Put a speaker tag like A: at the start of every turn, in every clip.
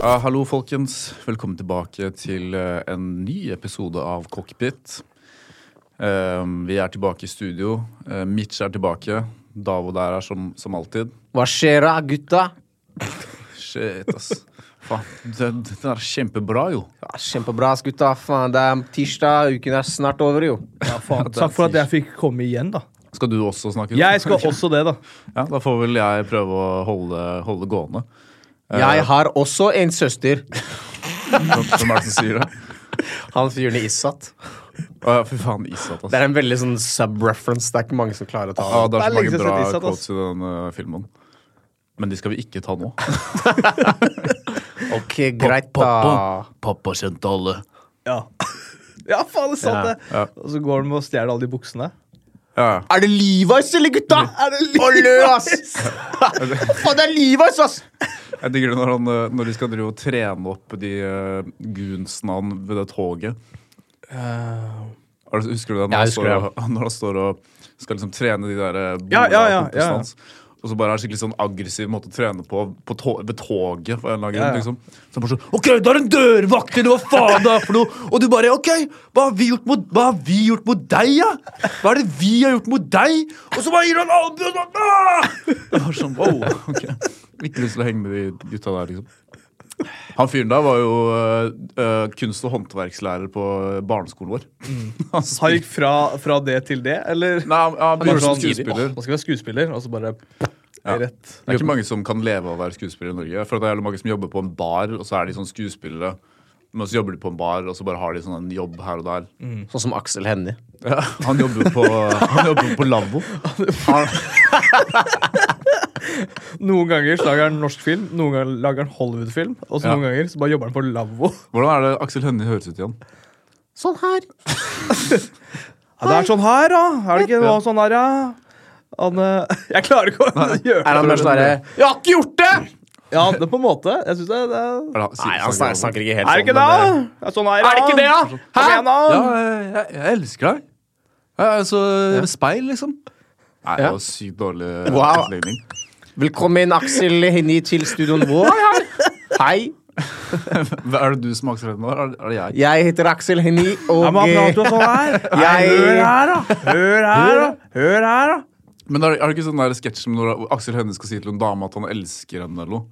A: Ja, hallo, folkens. Velkommen tilbake til eh, en ny episode av Cockpit. Ehm, vi er tilbake i studio. Eh, Mitch er tilbake. Davo der er som, som alltid.
B: Hva skjer da, gutta?
A: Shit, ass. Faen, den, den er kjempebra, jo.
B: Ja, kjempebra, ass, gutta. Faen, det er tirsdag, uken er snart over, jo.
C: Ja, faen. Takk for at jeg fikk komme igjen, da.
A: Skal du også snakke?
C: Jeg skal også det, da.
A: Ja, da får vel jeg prøve å holde, holde gående.
B: Jeg har også en søster.
A: Hvem hvem er det som sier det?
B: Han fyren i Issat.
A: Å, ja, fy faen, Isat, ass.
B: Det er en veldig sånn sub-reference. Det er ikke mange som klarer å ta
A: Ja, det er
C: Det er
A: så
C: lenge
A: mange
C: siden jeg har
A: bra
C: sett Isat, ass.
A: quotes i den eh, filmen. Men de skal vi ikke ta nå.
B: det. Ok, greit, da.
A: pappa kjente alle.
C: Ja, ja faen, det er sant,
B: Ja,
C: det. Og så går han med og stjeler alle de buksene.
A: Ja, ja.
B: Er det Levi's, eller, gutta?
C: Er det litt-
B: Mm. Å, lø, ass! Faen, det er Levi's, ass!
A: Jeg digger det når, han, eh, når de skal drive og trene opp de uh, goonsene han ved det toget.
C: Eh,
A: Er det- Husker du det? Når, han
B: Ja, jeg husker
A: står, og, når han står og skal liksom trene de der eh,
C: Ja, ja,
A: bola-
C: ja,
A: kompisene
C: ja, ja.
A: hans. Og så bare er det skikkelig sånn aggressiv måte å trene på, på to ved toget. for en eller annen grunn,
C: Ja, ja.
A: liksom. Så han bare sånn OK, du er en dørvakt, eller hva faen det er for noe? Og du bare OK, hva har vi gjort mot, hva har vi gjort mot deg, ja? Hva er det vi har gjort mot deg? Og så bare gir han albue og sånn «Ah!» Det var sånn, wow, ok. Ikke lyst til å henge med de gutta der, liksom. Han fyren der var jo øh, øh, kunst- og håndverkslærer på barneskolen vår.
B: Mm.
A: Han
C: Han
A: spil-
C: gikk fra, fra det til det, eller?
A: Nei, han, han
C: Han
A: begynte som
C: sånn,
A: skuespiller.
C: «Åh, Nå skal jeg være skuespiller, og så bare rett.
A: Det er ikke mange som kan leve av å være skuespiller i Norge. For det er jævlig mange som jobber på en bar, og så er de sånn skuespillere. Men så jobber de på en bar, og så bare har de sånn en jobb her og der.
B: Sånn som Aksel Hennie.
A: Ja, han jobber på, han jobber på lavvo. Han,
C: Noen ganger så lager han norsk film, noen ganger lager han Hollywood-film, og så
A: Ja.
C: noen ganger så bare jobber han på lavvo.
A: hvordan er det Aksel Hønnie høres ut igjen?
B: Sånn her.
C: Ja, det er sånn her, da. Er det ikke noe sånn her, ja? Han, eh, jeg klarer ikke å gjøre
B: Er han mer sånn herre
C: Jeg har ikke gjort det! Ja, det er på en måte. Jeg synes det, det er
A: Er det,
B: Nei, han snakker, snakker ikke helt
C: Er det ikke det?
B: sånn. men
C: Ja, sånn er,
B: Er det ikke det, da?
C: Hæ?
B: Hæ?
A: Ja, jeg, jeg- jeg elsker deg. Jeg er så speil, liksom. Nei, det
B: Ja.
A: var sykt dårlig
B: Wow.
A: utlegning.
B: Velkommen, Aksel Hennie, til studioen vår. Hei, hei.
A: Hva Er det du som akselretter nå? Er det- er det jeg?
B: Jeg heter Aksel Hennie, og
C: Ja, men han
B: eh,
C: prater jo sånn her. Nei,
B: Jeg-
C: Hør her, da! Hør her, da! Hør her, da!
A: Men er det, er det ikke sånn der sketsj som når Aksel Hønnie skal si til en dame at han elsker henne, eller noe?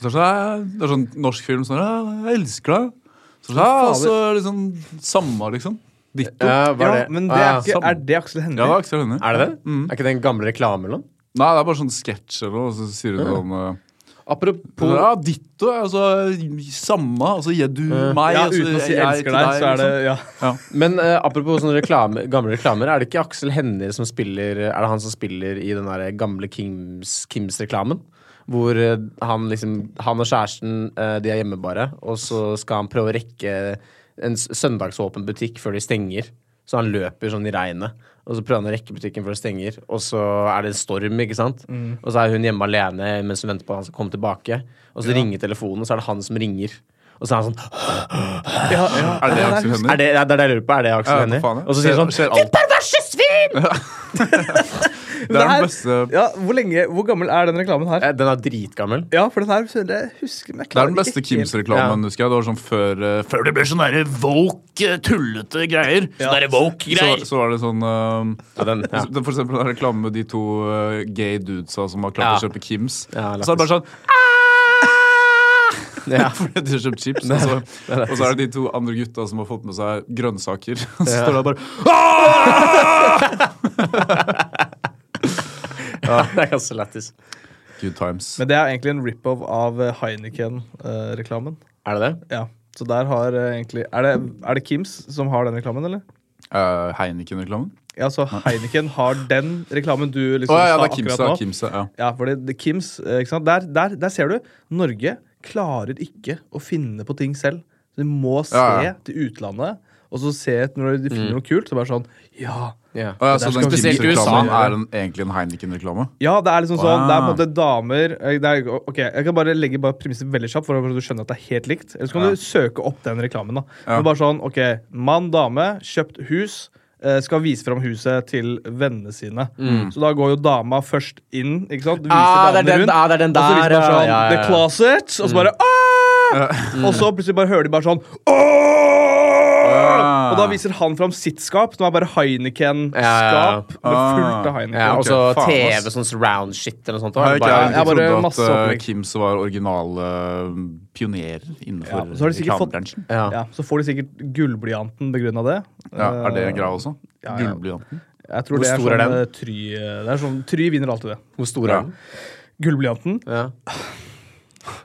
A: Så er det, sånn, «Æ», det er sånn norsk film sånn «Æ, Jeg elsker deg. Så er det, sånn, «Æ», og så er det sånn samme, liksom. Ditto.
B: eh, ja, hva
C: Ja,
B: er det?
C: men det er,
B: Ah,
C: ikke,
A: sånn.
C: er det Aksel
A: Ja, det er
C: Hennie?
A: Aksel Hønnie.
B: Er det det? Er ikke det en gammel reklame eller noe?
A: Nei, det er bare sånn sketsj eller noe, og så sier hun sånn eh,
B: Apropos
A: Ja, ditto. Altså samme. Altså gir du meg.
C: Ja,
A: altså,
C: uten å si
A: jeg
C: 'elsker
A: til
C: deg', så er det
A: liksom.
C: ja.
A: ja.
B: Men eh, apropos sånne reklame, gamle reklamer, er det ikke Aksel Hennie som spiller Er det han som spiller i den der gamle Kims- Kims-reklamen? Hvor eh, han liksom Han og kjæresten, eh, de er hjemme bare, og så skal han prøve å rekke en s- søndagsåpen butikk før de stenger. Så han løper sånn i regnet, og så prøver han å rekke butikken før det stenger. Og så er det en storm, ikke sant?
A: Mm.
B: Og så er hun hjemme alene mens hun venter på at han skal komme tilbake. Og så ringer telefonen, og så er det han som ringer. Og så er han sånn
C: Ja, ja.
A: Er det det Aksel Hønnie?
B: er det, det er det jeg lurer på. Er det Aksel
A: Ja,
B: Hennie?
A: for faen, ja.
B: Og så sier han
A: Skjer- skjer
B: sånn
A: alt.
B: Ditt perverse svin!
A: Det er
C: her-
A: den beste
C: ja, hvor, lenge, hvor gammel er den reklamen her?
B: Eh, Den er dritgammel.
C: Ja, for den her jeg husker men jeg
A: Det er
C: klarer
A: den beste
C: ikke helt.
A: Kims-reklamen, husker jeg. Det var sånn før, eh, før det ble sånn derre woke, eh, tullete greier.
C: Ja.
A: Sånne derre Så, så var det sånn eh,
B: Ja, den, ja.
A: så- For eksempel den reklamen med de to eh, gay dudesa som har klart å
B: Ja.
A: kjøpe Kims.
B: Ja,
A: Og så er det bare sånn
B: Ja.
A: Fordi de har kjøpt chips, og så, og så er det de to andre gutta som har fått med seg grønnsaker. Og så står det bare Ah!
B: det er ganske lættis.
A: Good times.
C: Men det er egentlig en rip-off av eh, Heineken-reklamen.
B: Er det det?
C: Ja, så der har eh, egentlig er det, er det Kims som har den reklamen, eller?
A: Eh, Heineken-reklamen?
C: Ja, så Heineken har den reklamen du liksom
A: Å ja, ja, det
C: sa
A: er Kims, det
C: akkurat nå.
A: er Kims, ja.
C: Ja, for det, det Kims, eh, ikke sant? Der, der, der ser du. Norge klarer ikke å finne på ting selv. Du må se
A: Ja, ja.
C: til utlandet, og så se et- når de finner noe kult, så bare sånn Ja!
B: Ja.
A: Å ja,
C: der
A: så
C: skal
A: den
C: vi- Spesielt i USA.
A: Kims-reklamen er en, egentlig en Heineken-reklame?
C: Ja, det er liksom
A: Wow.
C: sånn, det er på en måte damer eh, det er, Ok, Jeg kan bare legge bare premisset veldig kjapt, for at du skjønner at det er helt likt. Eller så kan
A: Ja.
C: du søke opp den reklamen. da
A: Ja.
C: Men bare sånn, ok, Mann, dame, kjøpt hus. eh, Skal vise fram huset til vennene sine. Så da går jo dama først inn. ikke sant? Du viser
B: Ah, det er
C: damene
B: den-
C: rundt,
B: ah, det er den
C: Og så
B: der,
C: viser man
B: ja, Mm.
C: sånn
B: ja, ja, ja.
C: The Closet, og så bare ah! Og så plutselig bare hører de bare sånn
A: Ah.
C: Og da viser han fram sitt skap, som er bare
B: Ja, ja, ja.
C: Heineken-skap. Med fullt av Heineken.
B: Ja, og så
A: Ah. Ok, faen, ass.
B: TV, sånn surround shit eller noe sånt.
A: Har
B: da.
A: ikke jeg
B: Bare,
C: jeg bare
A: trodde at
C: masse opplegg.
A: eh, Kims var originale eh, pionerer innenfor
C: Ja, så har de sikkert fått-
A: reklamebransjen?
B: ja.
C: Ja, så får de sikkert gullblyanten begrunna det.
A: Ja, er det
C: Eh,
A: en greie også?
C: ja, ja.
A: Gullblyanten?
C: Jeg tror
B: Hvor
C: det er
B: stor er
C: sånn
B: den?
C: eh, Try eh, Det er sånn Try vinner alltid det.
B: Hvor stor er den?
C: Gullblyanten
B: Ja.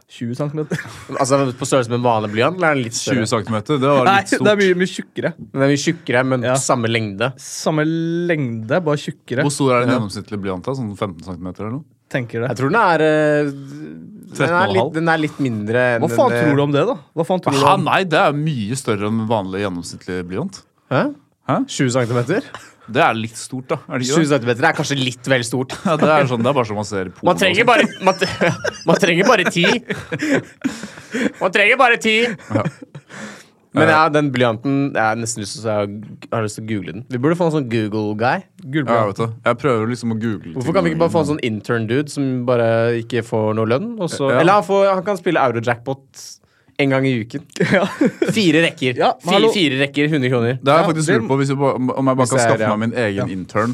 C: 20 cm.
B: Altså, er den På størrelse med en vanlig blyant? Eller er den litt
A: 20
B: større?
A: cm? Det var
C: Nei,
A: litt
C: det er
A: stort.
C: mye, mye tjukkere.
B: Den er mye tjukkere, men
C: Ja.
B: samme lengde.
C: Samme lengde, bare tjukkere.
A: Hvor stor er den gjennomsnittlige blyanten? Sånn 15 cm eller noe?
C: Tenker det.
B: Jeg tror den er eh, den er,
A: 13,5.
B: litt, den er litt mindre enn
C: Hva faen tror du om det, da? Hva faen tror du
A: Hæ,
C: om
A: nei, det er mye større enn vanlig gjennomsnittlig blyant.
B: Hæ?
A: Hæ?
B: 20 cm?
A: Det er litt stort, da. Er det
B: 20
A: ikke det?
B: cm er kanskje litt vel stort.
A: Ja, det, er sånn, det er bare som man ser på
B: Man trenger bare Man, tre- man trenger bare ti. Man trenger bare ti. Men ja, den blyanten Jeg har nesten lyst til, å, jeg har lyst til å google den. Vi burde få en sånn Google-guy.
A: ja, jeg,
C: gullblyanten?
A: vet det. jeg prøver liksom å google
B: Hvorfor kan vi ikke bare få en sånn intern-dude som bare ikke får noe lønn? Og så,
A: Ja.
B: Eller han, får, han kan spille euro-jackpot en gang i uken. Fire rekker.
C: Ja, men hallo.
B: fire, fire rekker, 100 kroner.
A: Det har jeg
C: Ja,
A: faktisk
C: det-
A: lurt på, hvis jeg bare, om jeg bare
B: Hvis
A: kan
B: jeg er,
A: skaffe
B: ja.
A: meg min egen intern.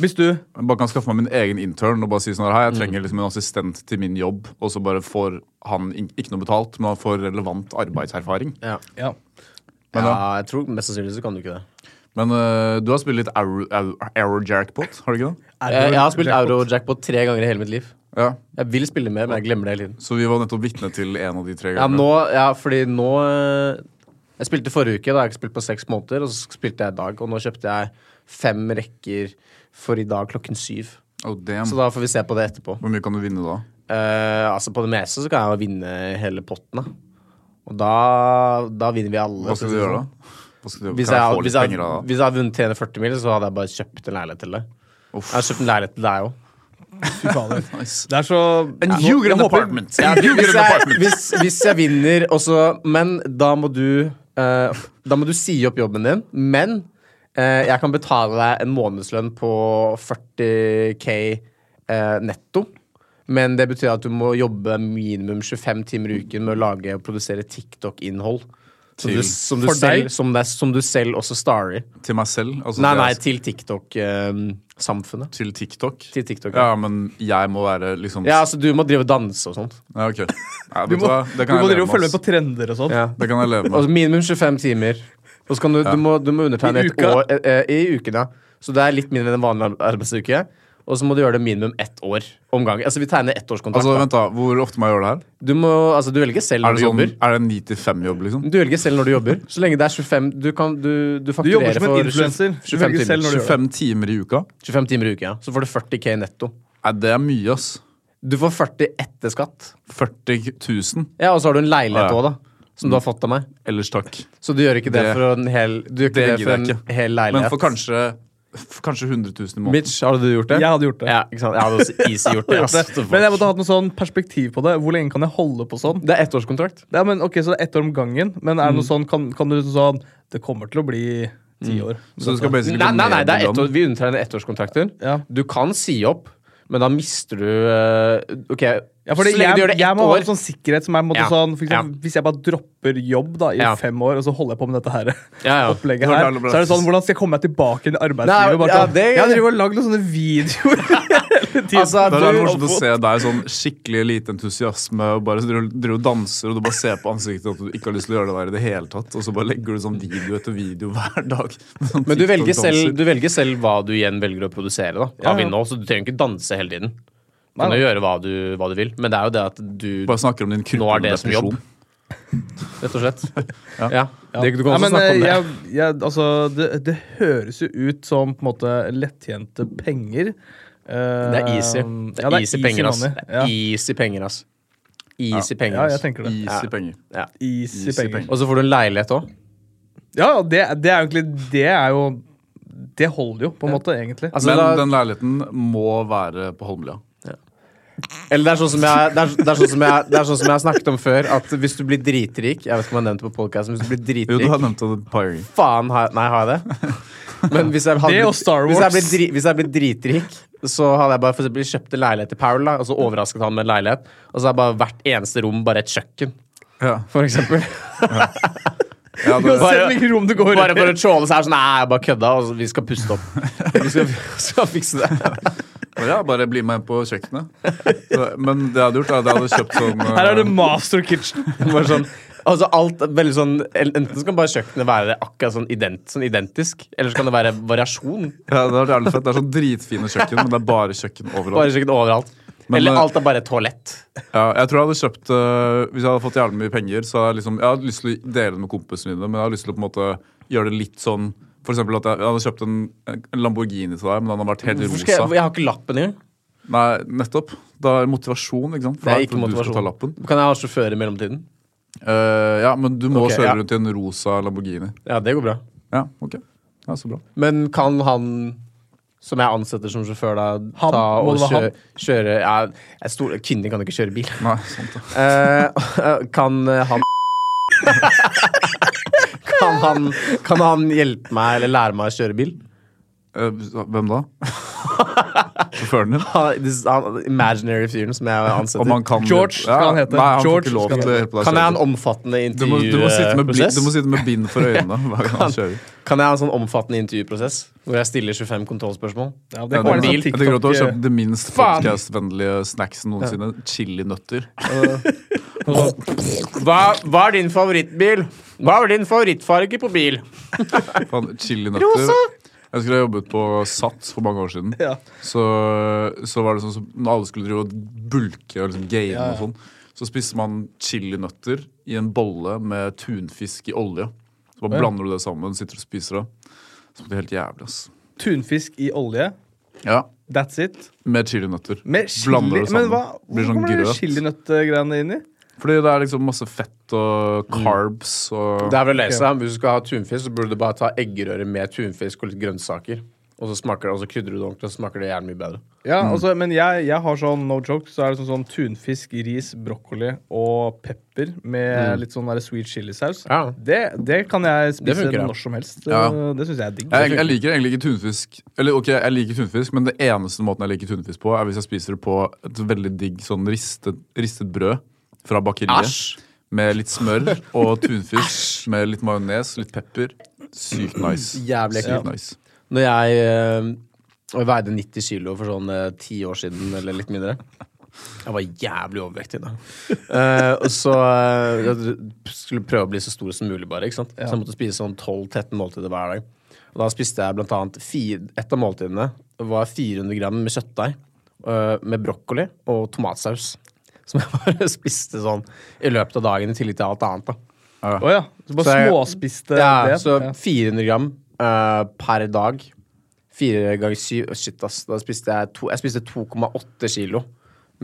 C: Hvis du
A: Jeg bare kan skaffe meg min egen intern og bare si sånn her, hei, jeg trenger liksom en assistent til min jobb, og så bare får han in- ikke noe betalt, men han får relevant arbeidserfaring.
B: Ja.
C: Ja.
A: Men,
B: ja,
A: da-
B: jeg tror mest sannsynlig så kan du ikke det.
A: men øh, du har spilt litt Arrow- Arrow Arrow Jackpot, har du ikke det?
C: Er
B: Jeg,
C: det
B: jeg har spilt
C: jackpot?
B: euro-jackpot tre ganger i hele mitt liv.
A: Ja.
B: Jeg vil spille mer, men jeg glemmer det hele tiden.
A: Så vi var nettopp vitne til en av de tre
B: Ja,
A: gangene.
B: nå, ja fordi nå eh, Jeg spilte forrige uke, da har jeg ikke spilt på seks måneder, og så spilte jeg i dag. Og nå kjøpte jeg fem rekker for i dag klokken syv.
A: Oh, damn.
B: Så da får vi se på det etterpå.
A: Hvor mye kan du vinne da?
B: Eh, altså På det meste så kan jeg jo vinne hele potten. Da. Og da, da vinner vi alle.
A: Hva skal du
B: for å si det
A: gjøre
B: sånn.
A: da? Hva skal du,
B: Hvis
A: kan
B: jeg,
A: jeg få
B: hvis,
A: litt
B: jeg,
A: penger av da?
B: hvis jeg hadde vunnet 340 mil, så hadde jeg bare kjøpt en leilighet til deg.
A: Uff.
B: Jeg hadde kjøpt en leilighet til deg òg.
C: Fy fader.
A: Nice.
C: Det er så
A: And
C: Nå-
A: you get
C: jeg
A: an
C: håper-
A: apartment!
B: Ja,
A: You get an
B: hvis, jeg,
A: apartment!
B: hvis, hvis jeg vinner også Men da må du eh, Da må du si opp jobben din. Men eh, jeg kan betale deg en månedslønn på 40K eh, netto. Men det betyr at du må jobbe minimum 25 timer i uken med å lage og produsere TikTok-innhold. Som,
A: Til-
B: du- som, du
C: for
B: selv-
C: deg?
B: som, det- som du selv også starer i.
A: Til meg selv? Altså,
B: Nei,
A: det er
B: nei,
A: s-
B: til TikTok-samfunnet.
A: til TikTok?
B: til TikTok, ja.
A: Ja, men jeg må være liksom
B: ja, altså du må drive og danse og sånt.
A: Ja, ok. Ja, vet
C: Du
A: du
C: må,
A: hva? Det
C: du
A: kan
C: må
A: jeg
C: drive
A: leve
C: og følge
A: med.
C: med på trender og sånn.
B: Ja.
A: ass. Det kan jeg leve med.
B: Altså minimum 25 timer. Og så kan du, du, må, du må undertegne
C: I
B: et
C: uka?
B: år eh, eh, i uken, ja. Så det er litt mindre enn en vanlig ar- arbeidsuke. Og så må du gjøre det minimum ett år om gangen. Altså, vi tegner ettårskontrakt.
A: Altså,
B: da.
A: vent da, Hvor ofte må jeg gjøre det her?
B: du, må, altså, du velger selv
A: Er
B: når
A: det,
B: du
A: sånn,
B: jobber.
A: er det en 9 til 5-jobb, liksom?
B: Du velger selv når du jobber. Så lenge det er 25 Du, kan, du, du
C: Du
B: fakturerer
C: jobber som en
B: for
C: influenser.
B: 25
C: Du velger selv
B: timer.
C: når du gjør det.
A: 25 timer i uka?
B: 25 timer i uka. Ja. Så får du 40K netto.
A: Nei, det er mye, ass.
B: Du får 40 etter skatt.
A: 40 000.
B: Ja, og så har du en
A: Ah,
B: leilighet
A: ja.
B: òg, da. Som du har fått av meg.
A: Ellers takk.
B: Så du gjør ikke det,
A: Det-
B: for en hel, du gjør ikke
A: Det
B: det for
A: gidder
B: en
A: jeg ikke.
B: hel
A: Men
B: leilighet.
A: for kanskje, for kanskje 100 000 i måneden.
B: Mitch, har du gjort det?
C: Jeg hadde gjort det.
B: Ja, ikke sant? Jeg hadde også easy gjort det.
C: Gjort det.
B: ass.
C: Men jeg måtte ha hatt noe sånn perspektiv på det. Hvor lenge kan jeg holde på sånn?
B: Det er ettårskontrakt.
C: Ja, men ok, Så det er ett år om gangen. Men er det noe sånn, kan, kan du sånn Det kommer til å bli ti år.
A: Så du skal basically
B: Nei, nei, nei det er
A: ned i
B: ett
A: lønn.
B: år, vi undertegner ettårskontrakter.
C: Ja.
B: Du kan si opp, men da mister du eh, Ok,
C: Ja, fordi
B: så lenge
C: jeg,
B: du gjør det
C: jeg
B: ett
C: må ha en
B: år
C: sånn sikkerhet som er på en måte
B: Ja,
C: sånn for eksempel,
B: ja.
C: Hvis jeg bare dropper jobb da i
B: Ja.
C: fem år, og så holder jeg på med dette her
B: ja, ja.
C: opplegget
A: Hvordan
C: her,
A: er det bra?
C: så er det sånn Hvordan skal jeg komme meg tilbake inn i
B: Nei,
C: arbeidslivet? Bare
B: ja,
C: sånn,
B: det-
C: jeg driver og lagd noen sånne videoer hele tiden.
B: Altså,
A: Da er det
B: du-
A: morsomt å se deg sånn skikkelig lite entusiasme og bare så driver driver og danser, og du bare ser på ansiktet at du ikke har lyst til å gjøre det der i det hele tatt, og så bare legger du sånn video etter video hver dag. Sånn
B: Men du velger,
A: TikTok-danser.
B: selv, du velger selv hva du igjen velger å produsere da, av
C: Ja, ja.
B: innhold, så du trenger ikke danse hele tiden. Du
C: Nei,
B: kan
C: nei.
B: jo gjøre hva du, hva du vil, men det er jo det at du
A: Bare snakker om din
B: Nå er
A: krypende
B: det som
A: depresjon.
B: jobb. Rett og slett. ja.
C: Ja.
B: Det, du kan
C: Ja,
B: også
C: men, eh,
B: snakke om det.
C: jeg, jeg, altså, det, det høres jo ut som på en måte lettjente penger. Eh,
B: Det er easy. Det
C: ja,
B: er easy penger, ass.
C: money.
B: Det
C: Ja.
B: er Easy penger, ass. Easy penger,
C: ja, jeg
B: ass.
C: tenker det.
A: Easy penger.
B: Ja.
C: Easy,
A: Easy
C: penger.
A: penger.
B: Og så får du en leilighet òg.
C: Ja, og det, det er jo egentlig Det er jo Det holder jo, på en måte, egentlig.
B: Altså,
A: Men
B: da-
A: den leiligheten må være på Holmlia.
B: Eller det er, sånn som jeg, det, er, det, er sånn som jeg, det er sånn som jeg har snakket om før, at hvis du blir dritrik Jeg vet ikke om jeg har nevnt det på podcasten hvis du blir
A: Jo, du
B: dritrik
A: har nevnt det et par ganger.
B: Faen, har jeg, nei, har jeg det? Men hvis jeg hadde,
C: Det
B: blitt-
C: og Star
B: Hvis jeg,
C: Wars.
B: ble dri, hvis jeg ble dritrik, så hadde jeg bare for eksempel, kjøpt en leilighet til Paul, da, og så overrasket han med en leilighet. Og så har jeg bare hvert eneste rom bare et kjøkken.
A: Ja.
B: for eksempel.
A: Ja, det,
C: Uansett hvilket rom du går
B: Bare
C: i.
B: for å tråle seg er det sånn Nei, jeg bare kødda. Og så- vi skal puste opp. Vi skal, skal fikse det.
A: ja, bare bli med på kjøkkenet. Så- Men det jeg hadde gjort, er at jeg hadde kjøpt sånn
C: Her er det master kitchen.
B: Bare sånn Altså alt er veldig sånn Enten så kan bare kjøkkenet være akkurat sånn, ident, sånn identisk, eller så kan det være variasjon.
A: Ja, det er jævlig fett. Det er sånn dritfine kjøkken, men det er bare kjøkken
B: Bare
A: overalt.
B: kjøkken overalt.
A: Men,
B: eller
A: eh,
B: alt er bare et toalett.
A: Ja, jeg tror jeg hadde kjøpt øh, Hvis jeg hadde fått jævlig mye penger, så hadde jeg liksom Jeg hadde lyst til å dele det med kompisene mine, men jeg hadde lyst til å på en måte gjøre det litt sånn for eksempel at jeg, jeg hadde kjøpt en, en Lamborghini til deg, men den hadde vært helt
B: Hvorfor
A: rosa.
B: skal jeg, jeg har ikke lappen engang.
A: Nei, nettopp. Da er det motivasjon, ikke sant? For
B: Det
A: at
B: er ikke
A: Du skal ta
B: motivasjon.
A: lappen.
B: Kan jeg ha sjåfør i mellomtiden?
A: Eh, ja, men du må
B: Ok,
A: kjøre
B: ja.
A: rundt i en rosa Lamborghini.
B: Ja, det går bra.
A: Ja, ok. Ja, så bra.
B: Men kan han som jeg ansetter som sjåfør, da ta
C: Må
B: og
C: det være
B: kjøre, kjøre ja, jeg stol, Kvinner kan ikke kjøre bil.
A: Nei, sant det.
B: Eh, kan eh, han kan, han kan han hjelpe meg eller lære meg å kjøre bil?
A: Eh, hvem da? Sjåføren din?
B: Han, this, han imaginary fyren som jeg
A: Om
B: ansetter.
A: han kan
C: George skal han hete.
A: Nei, han får
C: George skal
A: ikke lov
C: han
A: til å
C: hete.
A: hjelpe deg. å
B: Kan jeg ha
A: kjøre.
B: en omfattende
A: Du må, du, må sitte
C: eh,
A: med blind,
B: intervjuprosess?
A: du må sitte med bind for øynene hver gang han kjører.
B: Kan jeg ha en sånn omfattende intervjuprosess hvor jeg stiller 25 kontrollspørsmål?
C: Ja,
A: Ja,
C: det
A: det
C: kommer
A: er
C: en
A: bil.
C: sånn
A: Jeg tenker at du har kjøpt
C: TikTok eh,
A: det minst
C: Faen!
A: podcast-vennlige snacksen noensinne. Chilinøtter.
B: Hva, hva er din favorittbil? Hva er din favorittfarge på bil?
A: Faen, Chilinøtter. Jeg husker jeg jobbet på SATS for mange år siden.
C: Ja.
A: Så, så var det sånn som når alle skulle drive og bulke og liksom game og sånn, så spiste man chilinøtter i en bolle med tunfisk i olje. Så bare blander du det sammen, sitter og spiser det. Så det er helt jævlig, ass.
C: Tunfisk i olje.
A: Ja,
C: That's it.
A: Med chilinøtter.
C: Med
A: Blander det
C: chili Men
A: sammen.
C: hva?
A: Blir
C: Hvor
A: sånn
C: kommer det
A: grøt.
C: chilinøttgreiene inn i?
A: Fordi det er liksom masse fett og carbs og
B: Det er vel å lese. Hvis du skal ha tunfisk, så burde du bare ta eggerøre med tunfisk og litt grønnsaker. Og så smaker det, og så krydrer du det ordentlig, og så smaker det gjerne mye bedre.
C: Ja, altså, men jeg, jeg har sånn no joke, så er det sånn, sånn tunfisk, ris, brokkoli og pepper med litt sånn der sweet chilisaus.
B: Ja.
C: Det, det kan jeg
B: Det
C: spise
B: funker, ja.
C: når som helst. Eh,
A: Ja.
C: Det, det syns jeg er digg.
A: Jeg, jeg liker egentlig ikke tunfisk. Eller ok, jeg liker tunfisk, men det eneste måten jeg liker tunfisk på, er hvis jeg spiser det på et veldig digg sånn ristet, ristet brød fra bakeriet.
B: Æsj!
A: Med litt smør og tunfisk med litt majones, litt pepper. Sykt nice.
B: Mm, Jævlig ekkelt.
A: Sykt nice.
B: Når jeg eh, veide 90 kilo for sånn ti år siden, eller litt mindre Jeg var jævlig overvektig da. Eh, og så eh, jeg skulle prøve å bli så stor som mulig, bare. ikke sant? Så jeg måtte spise sånn 12-13 måltider hver dag. Og da spiste jeg blant annet fire, Et av måltidene var 400 gram med kjøttdeig eh, med brokkoli og tomatsaus. Som jeg bare spiste sånn i løpet av dagen, i tillegg til alt annet. da.
C: Å ja. Så bare
B: Så jeg-
C: småspiste
B: Ja,
C: eh, det.
B: så
C: Ja.
B: 400 gram eh, per dag. Fire ganger syv Å, Shit, ass. Da spiste jeg, to, jeg spiste 2,8 kilo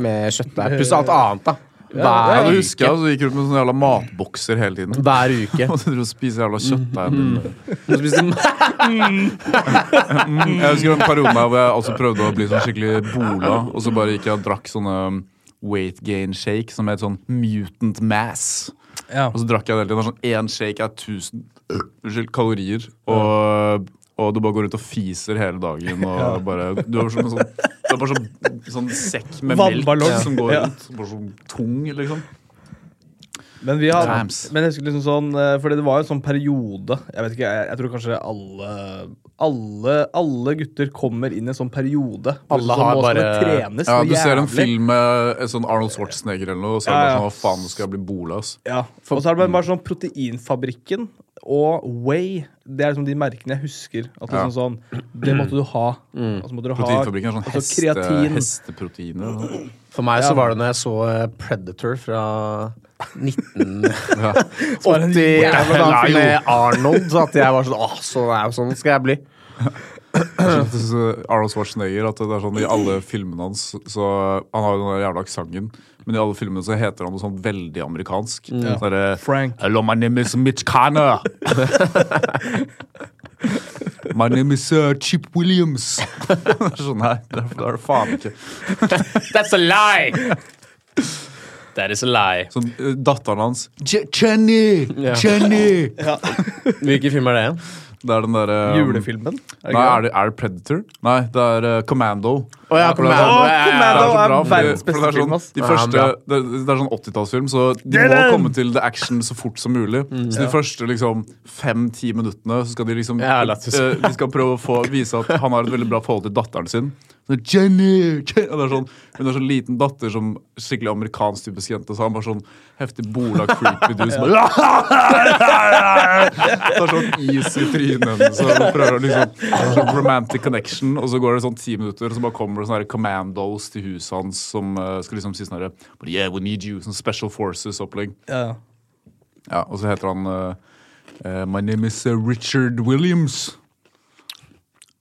B: med kjøttdeig. Pluss alt annet, da.
A: Ja,
B: Hver
A: det husker
B: uke.
A: jeg, så gikk rundt med sånne jævla matbokser hele tiden.
B: Hver uke.
A: Og du spiser jævla kjøttdeig.
B: Mm. Jeg spiste,
A: Mm, Jeg husker en periode der hvor jeg altså prøvde å bli sånn skikkelig bola, og så bare gikk jeg og drakk sånne um, weight gain shake som het sånn mutant mass.
C: Ja.
A: Og så drakk jeg det hele tiden. og Sånn, én shake er 1000 unnskyld, kalorier. Og, og du bare går rundt og fiser hele dagen. Og bare, du er som en sånn, du er bare sånn, sånn sekk med melk
C: Vannballong.
A: som går
C: Ja.
A: rundt. Bare sånn tung, liksom.
C: Men vi har,
A: Times.
C: men jeg husker liksom sånn eh, Fordi det var jo en sånn periode Jeg vet ikke, jeg, jeg tror kanskje alle, alle Alle gutter kommer inn i en sånn periode hvor
B: Alle
C: sånn,
B: har
C: nå skal det
B: bare-
C: trenes
A: Ja,
C: noe
A: du ser en
C: jævlig.
A: film med sånn Arnold Schwarzenegger eller noe, og så er det
C: Ja,
A: bare
C: ja.
A: sånn Hva faen, nå skal jeg bli bola, ass.
C: Ja. Og så er
A: Mm.
C: det bare, bare sånn Proteinfabrikken og Way. Det er liksom de merkene jeg husker. At liksom sånn Det måtte du ha. Altså måtte du
A: Mm.
C: ha
A: Proteinfabrikken er sånn
C: altså,
A: heste,
C: kreatin.
A: hesteproteiner. og sånn.
B: for meg
C: Ja.
B: så var det når jeg så eh, Predator fra 1980
A: Ja.
B: ja, blant annet med Arnold, så at jeg var sånn Åh, så er jeg sånn skal jeg bli.
A: Jeg synes, uh, Arnold Schwarzenegger at det er sånn i alle filmene hans så Han har jo den der jævla aksenten, men i alle filmene så heter han noe sånn veldig amerikansk. Mm. Sånn derre
C: Frank.
A: Hello, my name is Mitch Connor. my name is uh, Chip Williams. det er sånn her. Det er, det er det faen ikke.
B: That's a lie! That is a lie.
A: Sånn, uh, datteren hans Je- Jenny! Jenny!
B: Hvilken film er det igjen?
A: Det er den derre
C: Julefilmen? Er
A: Nei,
C: det ikke
A: er det, er det Predator? Nei, det er eh, Commando.
B: Å ja,
A: For det er-
B: Commando,
C: Å,
B: ja, ja, ja.
A: Det
C: Commando
A: så
C: er
A: bra, fordi-
C: verdens
A: for det er
C: beste
A: sånn,
C: film, ass.
A: De
B: Ja,
A: første,
B: bra.
A: det, det er sånn 80-tallsfilm, så de
C: Get Mm.
A: må
C: him!
A: komme til the action så fort som mulig. så de første liksom, fem-ti minuttene så skal de liksom
B: Ja, lættis.
A: eh, De skal prøve å få, vise at han har et veldig bra forhold til datteren sin. Sånn, Jenny, Jenny. Og det er sånn, hun har sånn liten datter som skikkelig amerikansk typisk jente. Så han bare sånn heftig bola creepy dude som bare Tar sånn is i trynet hennes og prøver å liksom sånn Romantic connection, og så går det sånn ti minutter, og så bare kommer det sånne her commandos til huset hans som eh, skal liksom si sånn herre But yeah, we need you. Sånn Special Forces-opplegg.
C: Ja, ja.
A: Ja, og så heter han eh, eh, My name is eh, Richard Williams.